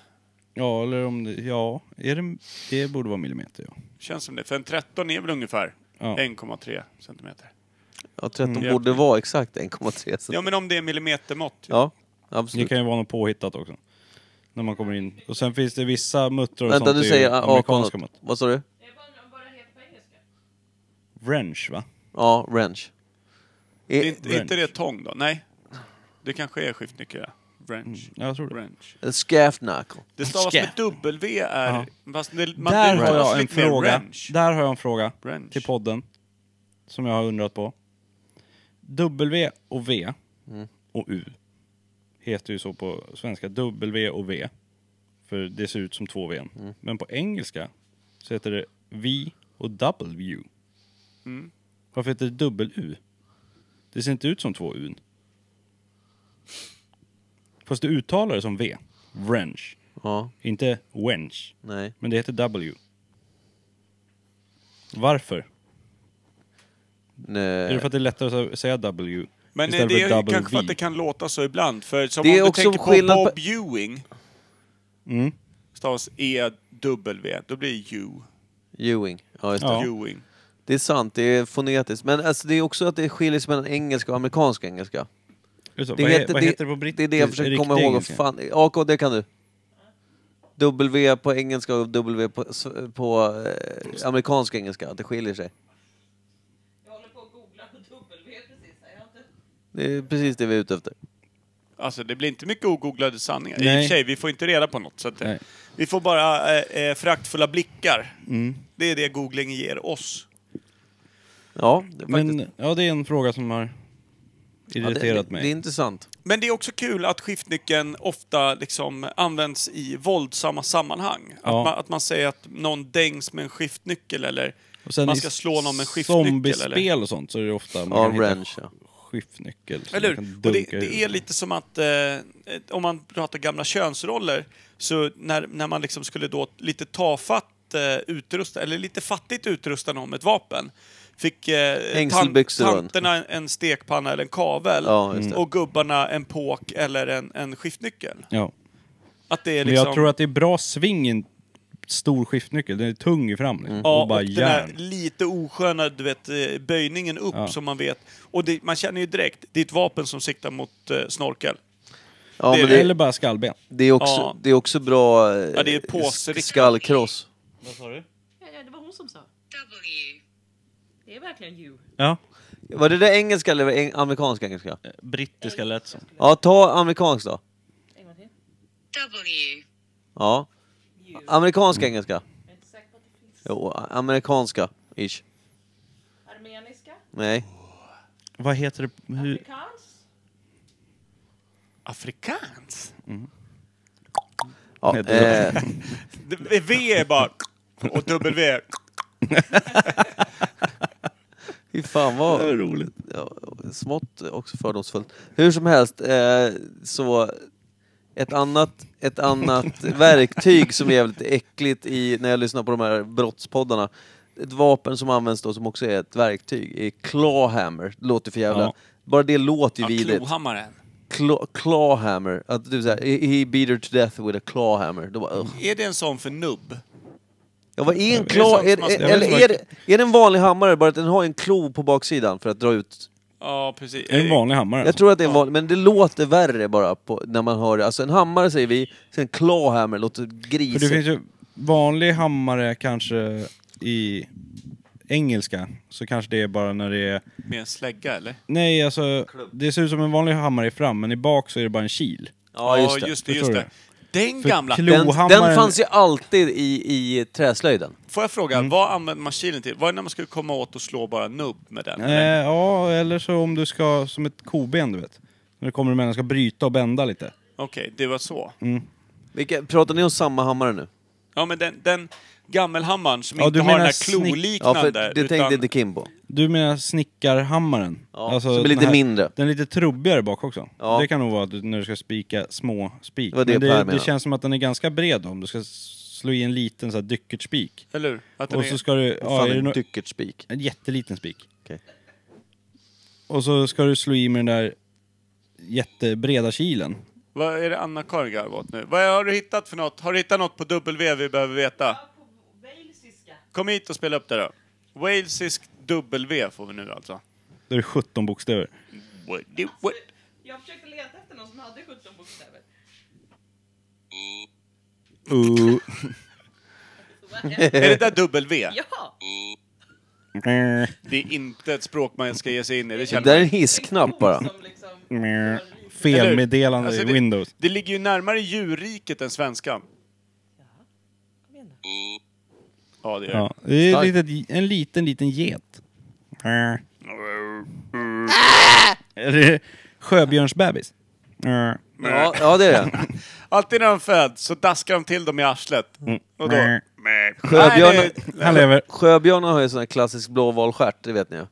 [SPEAKER 2] Ja, eller om det... Ja, är det, det borde vara millimeter, ja.
[SPEAKER 3] Känns som det. För en 13 är väl ungefär
[SPEAKER 2] Ja.
[SPEAKER 3] 1,3 centimeter.
[SPEAKER 1] Ja, 13
[SPEAKER 3] Mm.
[SPEAKER 1] borde vara exakt 1,3 så-
[SPEAKER 3] Ja men om det är millimetermått. Ja.
[SPEAKER 1] Ja,
[SPEAKER 2] Det
[SPEAKER 1] absolut.
[SPEAKER 2] kan ju vara något påhittat också. När man kommer in. Och sen finns det vissa muttrar och
[SPEAKER 1] Vänta,
[SPEAKER 2] sånt.
[SPEAKER 1] du
[SPEAKER 2] är ju
[SPEAKER 1] säger A-konot.
[SPEAKER 2] amerikanska mått.
[SPEAKER 1] Vad sa du?
[SPEAKER 4] Jag bara undrar om bara heter på engelska.
[SPEAKER 2] Wrench, va?
[SPEAKER 1] Ja, wrench.
[SPEAKER 3] Är
[SPEAKER 1] E-
[SPEAKER 3] inte, är inte det tång då? Nej. Det kanske är skiftnyckel. ja. Wrench.
[SPEAKER 2] Ja, Mm, jag tror det.
[SPEAKER 3] Wrench.
[SPEAKER 1] Scaff knuckle.
[SPEAKER 3] Det stavas med W är... Fast det, man
[SPEAKER 2] Där har
[SPEAKER 3] uttalar
[SPEAKER 2] jag en
[SPEAKER 3] lite mer
[SPEAKER 2] fråga.
[SPEAKER 3] wrench.
[SPEAKER 2] Där har jag en fråga
[SPEAKER 3] Wrench.
[SPEAKER 2] till podden. Som jag har undrat på. W och V och U heter ju så på svenska. W och V. För det ser ut som två V. Men på engelska så heter det V och W.
[SPEAKER 3] Mm.
[SPEAKER 2] Varför heter det dubbel-U? Det ser inte ut som två U. Fast du uttalar det som V. Wrench.
[SPEAKER 1] Ja,
[SPEAKER 2] Inte wench.
[SPEAKER 1] nej.
[SPEAKER 2] Men det heter W. Varför? Är det
[SPEAKER 1] nej.
[SPEAKER 2] för att det är lättare att säga W?
[SPEAKER 3] Men
[SPEAKER 2] istället
[SPEAKER 3] det
[SPEAKER 2] för
[SPEAKER 3] är
[SPEAKER 2] W?
[SPEAKER 3] kanske för att det kan låta så ibland. För som
[SPEAKER 1] Det är
[SPEAKER 3] om du
[SPEAKER 1] också
[SPEAKER 3] tänker på
[SPEAKER 1] skillnad på-
[SPEAKER 3] Bob Ewing.
[SPEAKER 2] Mm.
[SPEAKER 3] Stavas E-W. Då blir det U.
[SPEAKER 1] Ewing. Ja, just det.
[SPEAKER 2] Ja.
[SPEAKER 3] Ewing.
[SPEAKER 1] Det är sant, det är fonetiskt. Men alltså, det är också att det skiljer sig mellan engelska och amerikansk engelska.
[SPEAKER 2] Är det så?
[SPEAKER 1] Det
[SPEAKER 2] vad, he-
[SPEAKER 1] heter-
[SPEAKER 2] vad
[SPEAKER 1] det-
[SPEAKER 2] heter det på brittisk?
[SPEAKER 1] Det är det jag försöker komma
[SPEAKER 2] riktig
[SPEAKER 1] ihåg. Och
[SPEAKER 2] engelska?
[SPEAKER 1] Fan, AK, det kan du. W på engelska och W på, s- på eh, amerikansk engelska, att det skiljer sig.
[SPEAKER 4] Jag håller på att googla på W precis här. Jag har inte...
[SPEAKER 1] Det är precis det vi är ute efter.
[SPEAKER 3] Alltså det blir inte mycket ogooglade sanningar. I
[SPEAKER 2] Nej.
[SPEAKER 3] och för sig, vi får inte reda på något. Så att, eh,
[SPEAKER 2] Nej.
[SPEAKER 3] vi får bara eh, eh, fraktfulla blickar.
[SPEAKER 2] Mm.
[SPEAKER 3] Det är det googling ger oss.
[SPEAKER 1] Ja, det är faktiskt...
[SPEAKER 2] Men ja, det är en fråga som har irriterat
[SPEAKER 1] ja, det,
[SPEAKER 2] mig.
[SPEAKER 1] Det är intressant.
[SPEAKER 3] Men det är också kul att skiftnyckeln ofta liksom används i våldsamma sammanhang.
[SPEAKER 2] Ja.
[SPEAKER 3] Att, man, att man säger att någon dängs med en skiftnyckel eller
[SPEAKER 2] Och sen
[SPEAKER 3] man
[SPEAKER 2] i
[SPEAKER 3] ska slå någon med en skiftnyckel.
[SPEAKER 2] Zombiespel
[SPEAKER 3] Eller?
[SPEAKER 2] och sånt så är det ofta man
[SPEAKER 1] Ja,
[SPEAKER 2] kan hitta
[SPEAKER 1] wrench. Ja.
[SPEAKER 2] skiftnyckel. som
[SPEAKER 3] Eller
[SPEAKER 2] man
[SPEAKER 3] hur?
[SPEAKER 2] kan
[SPEAKER 3] Och det,
[SPEAKER 2] dunka
[SPEAKER 3] det
[SPEAKER 2] ur.
[SPEAKER 3] är lite som att eh, ett- om man pratar gamla könsroller, så när, när man liksom skulle då lite tafatt eh, utrusta, eller lite fattigt utrusta någon med ett vapen, fick eh,
[SPEAKER 1] Hängselbyxor och en-
[SPEAKER 3] tanterna en, en stekpanna eller en kavel
[SPEAKER 1] Ja, just det.
[SPEAKER 3] och gubbarna en påk eller en, en skiftnyckel.
[SPEAKER 2] Ja.
[SPEAKER 3] Att det är
[SPEAKER 2] Men
[SPEAKER 3] liksom...
[SPEAKER 2] jag tror att det är bra sving i en stor skiftnyckel. Den är tung i fram liksom.
[SPEAKER 3] Mm. Ja,
[SPEAKER 2] och bara
[SPEAKER 3] och den här
[SPEAKER 2] järn.
[SPEAKER 3] lite osköna du vet, eh, böjningen upp
[SPEAKER 2] Ja.
[SPEAKER 3] som man vet. Och det, man känner ju direkt, det är ett vapen som siktar mot eh, snorkel.
[SPEAKER 1] Ja,
[SPEAKER 3] det är
[SPEAKER 1] men det,
[SPEAKER 2] Eller bara skallben.
[SPEAKER 1] det, är också,
[SPEAKER 3] Ja.
[SPEAKER 1] det är också bra eh,
[SPEAKER 3] Ja, det är påsriktat.
[SPEAKER 1] sk- skallkross.
[SPEAKER 4] Ja, ja, det var hon som sa. Det är verkligen you.
[SPEAKER 2] Ja.
[SPEAKER 1] Var det det engelska eller var det eng- amerikanska engelska?
[SPEAKER 2] Brittiska lät som.
[SPEAKER 1] Ja, ta amerikansk då.
[SPEAKER 4] En gång till.
[SPEAKER 1] Ja. Amerikanska engelska.
[SPEAKER 4] Jag är inte säker på att det finns.
[SPEAKER 1] Jo, amerikanska. Ish.
[SPEAKER 4] Armeniska?
[SPEAKER 1] Nej.
[SPEAKER 2] Vad heter det? Hur?
[SPEAKER 4] Afrikans?
[SPEAKER 3] Afrikans?
[SPEAKER 1] Ja,
[SPEAKER 2] Nej, det-
[SPEAKER 1] eh,
[SPEAKER 3] Det- V är bara... Och W.
[SPEAKER 1] fy fan vad...
[SPEAKER 2] roligt.
[SPEAKER 1] ja, smått också fördomsfullt. Hur som helst, eh, så ett annat, ett annat verktyg som är jävligt äckligt i, när jag lyssnar på de här brottspoddarna, ett vapen som används då som också är ett verktyg, är clawhammer. Det låter för jävla...
[SPEAKER 2] Ja.
[SPEAKER 1] Bara det låter ju
[SPEAKER 3] Ja,
[SPEAKER 1] vidrigt.
[SPEAKER 3] klohammaren.
[SPEAKER 1] Claw, clawhammer. Att du säger he, he beat her to death with a clawhammer. Då bara, ugh.
[SPEAKER 3] Är det en sån för nubb?
[SPEAKER 1] Ja, vad är en
[SPEAKER 3] vet
[SPEAKER 1] claw?
[SPEAKER 3] inte,
[SPEAKER 1] Är,
[SPEAKER 3] jag
[SPEAKER 1] är,
[SPEAKER 3] vet
[SPEAKER 1] eller
[SPEAKER 2] inte.
[SPEAKER 1] är, det, är det en vanlig hammare, bara att den har en klo på baksidan för att dra ut
[SPEAKER 3] Ja, precis.
[SPEAKER 2] Det är en vanlig hammare. alltså.
[SPEAKER 1] Jag tror att det är en vanlig, men det låter värre bara på, när man hör det. Alltså en hammare säger vi, sen clawhammer låter
[SPEAKER 2] För det
[SPEAKER 1] grisigt.
[SPEAKER 2] finns ju vanlig hammare kanske i engelska, så kanske det är bara när det är...
[SPEAKER 3] Med en slägga, eller?
[SPEAKER 2] Nej, alltså det ser ut som en vanlig hammare i fram, men i bak så är det bara en kil.
[SPEAKER 1] Ja, just det.
[SPEAKER 3] just det.
[SPEAKER 2] Förstår
[SPEAKER 3] Just det. Den
[SPEAKER 2] För
[SPEAKER 3] gamla.
[SPEAKER 2] klo-
[SPEAKER 1] Den,
[SPEAKER 2] Klohammaren-
[SPEAKER 1] den fanns ju alltid i, i träslöjden.
[SPEAKER 3] Får jag fråga,
[SPEAKER 2] Mm.
[SPEAKER 3] vad använder man kilen till? Vad är det när man skulle komma åt och slå bara nubb med den?
[SPEAKER 2] Eh, ja, eller så om du ska, som ett koben du vet. När du kommer emellan och ska bryta och bända lite.
[SPEAKER 3] Okej, det var så.
[SPEAKER 1] Vilka, pratar ni om samma hammare nu?
[SPEAKER 3] Ja, men den, den gammelhammaren som
[SPEAKER 2] Ja,
[SPEAKER 3] inte
[SPEAKER 2] du
[SPEAKER 3] har den
[SPEAKER 2] menar
[SPEAKER 3] här
[SPEAKER 2] snick-
[SPEAKER 1] Ja, för
[SPEAKER 3] kloliknande.
[SPEAKER 1] det
[SPEAKER 3] utan-
[SPEAKER 1] tänkte inte Kim på.
[SPEAKER 2] Du menar snickarhammaren? Alltså
[SPEAKER 1] Ja, som är lite
[SPEAKER 2] den
[SPEAKER 1] mindre.
[SPEAKER 2] Den är lite trubbigare bak också.
[SPEAKER 1] Ja.
[SPEAKER 2] Det kan nog vara att du, när du ska spika små spik.
[SPEAKER 1] Det var det
[SPEAKER 2] Men
[SPEAKER 1] Per
[SPEAKER 2] det, det
[SPEAKER 1] menade.
[SPEAKER 2] känns som att den är ganska bred då, om du ska slå i en liten så här dyckertspik.
[SPEAKER 3] Eller hur? Att den
[SPEAKER 2] Och
[SPEAKER 3] är-
[SPEAKER 2] så ska du...
[SPEAKER 1] Fan,
[SPEAKER 2] Ja, är det
[SPEAKER 1] en
[SPEAKER 2] no
[SPEAKER 1] dyckertspik.
[SPEAKER 2] en jätteliten spik.
[SPEAKER 1] Okej.
[SPEAKER 2] Och så ska du slå i med den där jättebreda kilen.
[SPEAKER 3] Vad är det Anna-Karin garvar åt nu? Vad har du hittat för något? Har du hittat något på W vi behöver veta?
[SPEAKER 4] På walesiska?
[SPEAKER 3] Kom hit och spela upp det då. Walesisk W får vi nu alltså.
[SPEAKER 2] Då är det 17 bokstäver.
[SPEAKER 3] What- det- what-
[SPEAKER 4] Jag försökte leta efter någon som hade 17 bokstäver.
[SPEAKER 2] Uh.
[SPEAKER 3] Är det där W?
[SPEAKER 4] Ja!
[SPEAKER 3] Det är inte ett språk man ska ge sig in i, det
[SPEAKER 1] Det
[SPEAKER 3] känner
[SPEAKER 1] där är en
[SPEAKER 3] man.
[SPEAKER 1] hissknapp bara.
[SPEAKER 4] Som liksom...
[SPEAKER 2] Felmeddelande
[SPEAKER 3] Alltså,
[SPEAKER 2] i
[SPEAKER 3] det-
[SPEAKER 2] Windows.
[SPEAKER 3] Det ligger ju närmare djurriket än svenskan.
[SPEAKER 4] Kom igen nu.
[SPEAKER 3] Ja, det gör
[SPEAKER 2] Ja. Det är
[SPEAKER 1] Starkt.
[SPEAKER 2] ett litet, en liten, liten get. Eller sjöbjörnsbebis.
[SPEAKER 1] Ja, ja, det är det.
[SPEAKER 3] Alltid när de föds så daskar de till dem i arslet. Och då...
[SPEAKER 2] Mm.
[SPEAKER 1] Sjöbjörn-
[SPEAKER 3] Nej, det är-
[SPEAKER 2] Han lever.
[SPEAKER 1] Sjöbjörnar har ju sån här klassisk blåvalstjärt, det vet ni ju.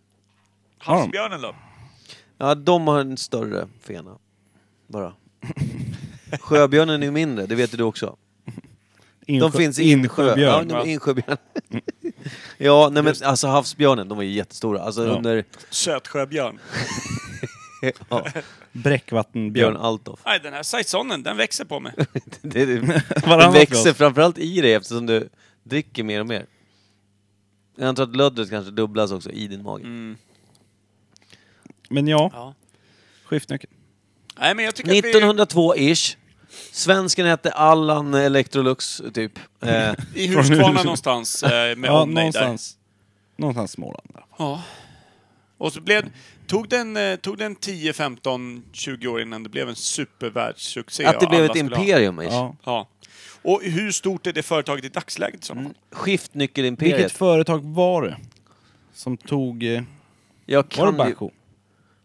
[SPEAKER 3] Havsbjörnen då?
[SPEAKER 1] Ja, de har en större fena. Bara. Sjöbjörnen är ju mindre, det vet ju du också. De
[SPEAKER 2] Insjö-
[SPEAKER 1] finns i insjö. Ja,
[SPEAKER 2] insjöbjörn. Mm.
[SPEAKER 1] de är
[SPEAKER 3] va?
[SPEAKER 1] insjöbjörn. ja, nej men alltså havsbjörnen, de var ju jättestora. Alltså
[SPEAKER 2] Ja.
[SPEAKER 1] under
[SPEAKER 3] Sötsjöbjörn.
[SPEAKER 1] ja, Björn
[SPEAKER 2] Bräckvattenbjörn.
[SPEAKER 1] Althoff.
[SPEAKER 3] Nej, den här saisonen, den växer på mig.
[SPEAKER 1] Det, det, det
[SPEAKER 2] Varannat
[SPEAKER 1] växer
[SPEAKER 2] glas.
[SPEAKER 1] framförallt i dig eftersom du dricker mer och mer. Jag antar att löddret kanske dubblas också i din mage.
[SPEAKER 2] Mm. Men ja,
[SPEAKER 3] Ja.
[SPEAKER 2] skiftnyckeln.
[SPEAKER 3] Nej, men jag tycker att
[SPEAKER 1] 1902-ish. Svensken hette Allan Electrolux, typ. Eh,
[SPEAKER 3] vi är i Huskvarna någonstans eh, med
[SPEAKER 2] Ja,
[SPEAKER 3] omnejd där.
[SPEAKER 2] någonstans. Någonstans Småland.
[SPEAKER 3] Ja. Och så blev, tog den, eh, tog den 10, 15, 20 år innan det blev en supervärldssuccé.
[SPEAKER 1] att det
[SPEAKER 3] och
[SPEAKER 1] blev
[SPEAKER 3] alla
[SPEAKER 1] ett
[SPEAKER 3] skulle ha-
[SPEAKER 1] imperium, ish.
[SPEAKER 2] Ja.
[SPEAKER 3] Ja. Och hur stort är det företaget i dagsläget? Som?
[SPEAKER 1] Mm. Skiftnyckelimperiet.
[SPEAKER 2] Vilket företag var det som tog... eh,
[SPEAKER 1] Jag
[SPEAKER 2] Var det
[SPEAKER 1] kan ju...
[SPEAKER 2] Baco?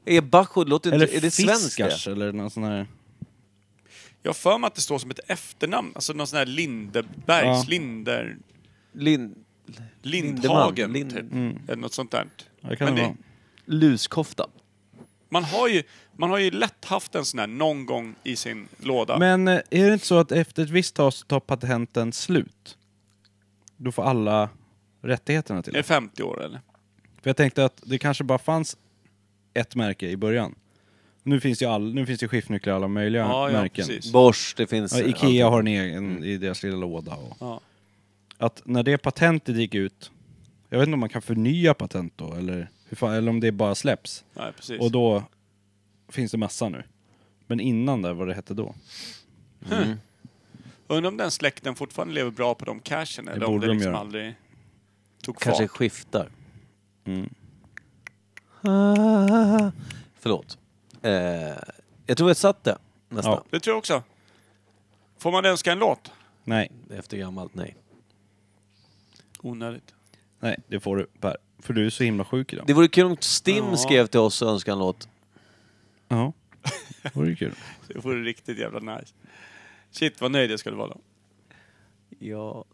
[SPEAKER 1] Är Bajo, det låter
[SPEAKER 2] Eller
[SPEAKER 1] inte... Är det svenskt det?
[SPEAKER 2] Fiskars eller någon sån här...
[SPEAKER 3] Jag har för mig att det står som ett efternamn. Alltså någon sån här Lindebergs,
[SPEAKER 2] Ja.
[SPEAKER 3] Linder...
[SPEAKER 1] Lin...
[SPEAKER 3] Lindhagen,
[SPEAKER 1] Lindeman, Lind-
[SPEAKER 3] typ. Eller något sånt där.
[SPEAKER 2] Mm. Ja, det kan
[SPEAKER 3] Men
[SPEAKER 2] det
[SPEAKER 3] det-
[SPEAKER 2] vara.
[SPEAKER 1] Luskofta.
[SPEAKER 3] Man har ju, man har ju lätt haft en sån här någon gång i sin låda.
[SPEAKER 2] Men eh, är det inte så att efter ett visst tag så tar patenten slut? Då får alla rättigheterna till
[SPEAKER 3] är det
[SPEAKER 2] det.
[SPEAKER 3] 50 år eller?
[SPEAKER 2] För jag tänkte att det kanske bara fanns ett märke i början. Nu finns ju, all, nu finns ju skiftnycklar i alla möjliga
[SPEAKER 3] Ja, ja,
[SPEAKER 2] märken.
[SPEAKER 3] precis. Mm.
[SPEAKER 1] Bosch, det finns...
[SPEAKER 2] Ja, Ikea har en egen i deras lilla låda. Och
[SPEAKER 3] Ja.
[SPEAKER 2] Att när det patentet gick ut, jag vet inte om man kan förnya patent då eller, hur fan, eller om det bara släpps.
[SPEAKER 3] Nej, precis.
[SPEAKER 2] Och då finns det massa nu. Men innan där, vad det hette då?
[SPEAKER 3] Undrar om den släkten fortfarande lever bra på de cashen eller om
[SPEAKER 2] borde
[SPEAKER 3] det
[SPEAKER 2] de
[SPEAKER 3] liksom
[SPEAKER 2] göra.
[SPEAKER 3] aldrig tog
[SPEAKER 1] Kanske
[SPEAKER 3] fart.
[SPEAKER 1] skiftar.
[SPEAKER 2] Mm.
[SPEAKER 1] Ah, Förlåt. Eh, jag tror jag satt det nästan.
[SPEAKER 3] Det tror jag också. Får man önska en låt?
[SPEAKER 2] Nej,
[SPEAKER 1] Efter gammalt, nej.
[SPEAKER 3] Onödigt.
[SPEAKER 2] nej, det får du Per. För du är så himla sjuk idag.
[SPEAKER 1] Det vore kul om Stim
[SPEAKER 3] Ja.
[SPEAKER 1] skrev till oss och önskade en låt.
[SPEAKER 2] Ja, det vore kul.
[SPEAKER 3] Det vore riktigt jävla nice. Shit vad nöjd jag skulle vara då.
[SPEAKER 1] Ja.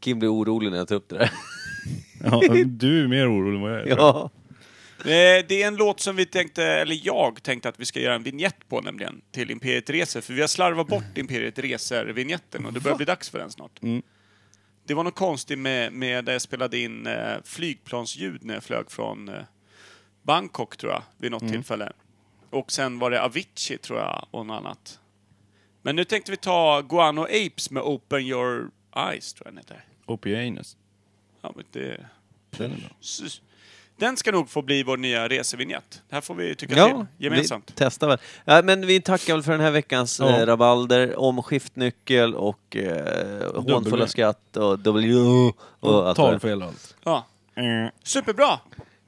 [SPEAKER 1] Kim blir orolig när jag tar upp det där.
[SPEAKER 2] Ja, du är mer orolig än vad jag är.
[SPEAKER 1] ja.
[SPEAKER 3] Eh, Det är en låt som vi tänkte, eller jag tänkte att vi ska göra en vignett på nämligen, till Imperiet Reser. För vi har slarvat bort Imperiet Reser-vignetten och det börjar bli dags för den snart.
[SPEAKER 2] Mm.
[SPEAKER 3] Det var något konstigt med, med där jag spelade in eh, flygplansljud när jag flög från eh, Bangkok tror jag, vid något tillfälle. Och sen var det Avicii tror jag och något annat. Men nu tänkte vi ta Guano Apes med Open Your Eyes tror jag den heter.
[SPEAKER 2] Opianus.
[SPEAKER 3] Ja, men det...
[SPEAKER 2] Den är bra.
[SPEAKER 3] Sus. Den ska nog få bli vår nya resevignett. Det här får vi tycka till gemensamt.
[SPEAKER 1] Vi testar väl. Ja, men vi tackar väl för den här veckans
[SPEAKER 2] Ja.
[SPEAKER 1] eh, rabalder om skiftnyckel och eh, hånfulla
[SPEAKER 2] W.
[SPEAKER 1] skratt och W och allt vad det är.
[SPEAKER 2] Talfel och allt.
[SPEAKER 3] Ja. Superbra!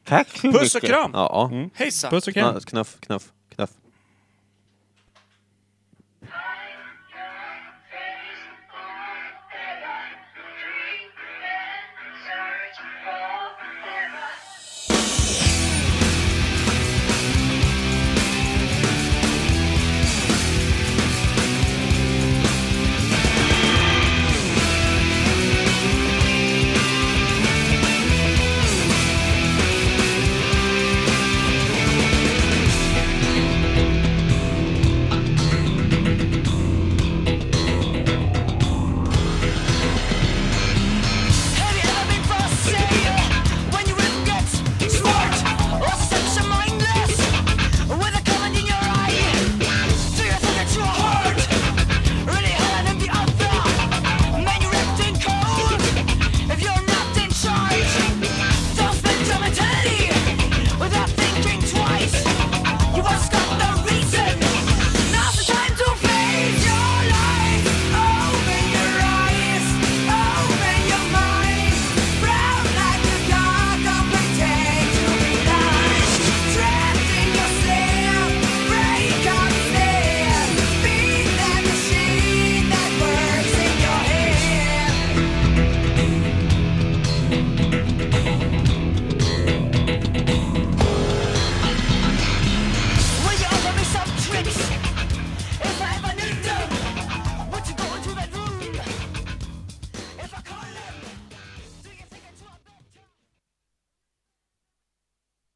[SPEAKER 1] Tack så
[SPEAKER 3] Puss och
[SPEAKER 1] mycket.
[SPEAKER 3] kram.
[SPEAKER 1] Ja,
[SPEAKER 2] Mm.
[SPEAKER 1] ja.
[SPEAKER 3] Hejsan!
[SPEAKER 2] Puss och kram.
[SPEAKER 1] ja knuff, knuff, knuff.
[SPEAKER 9] Search for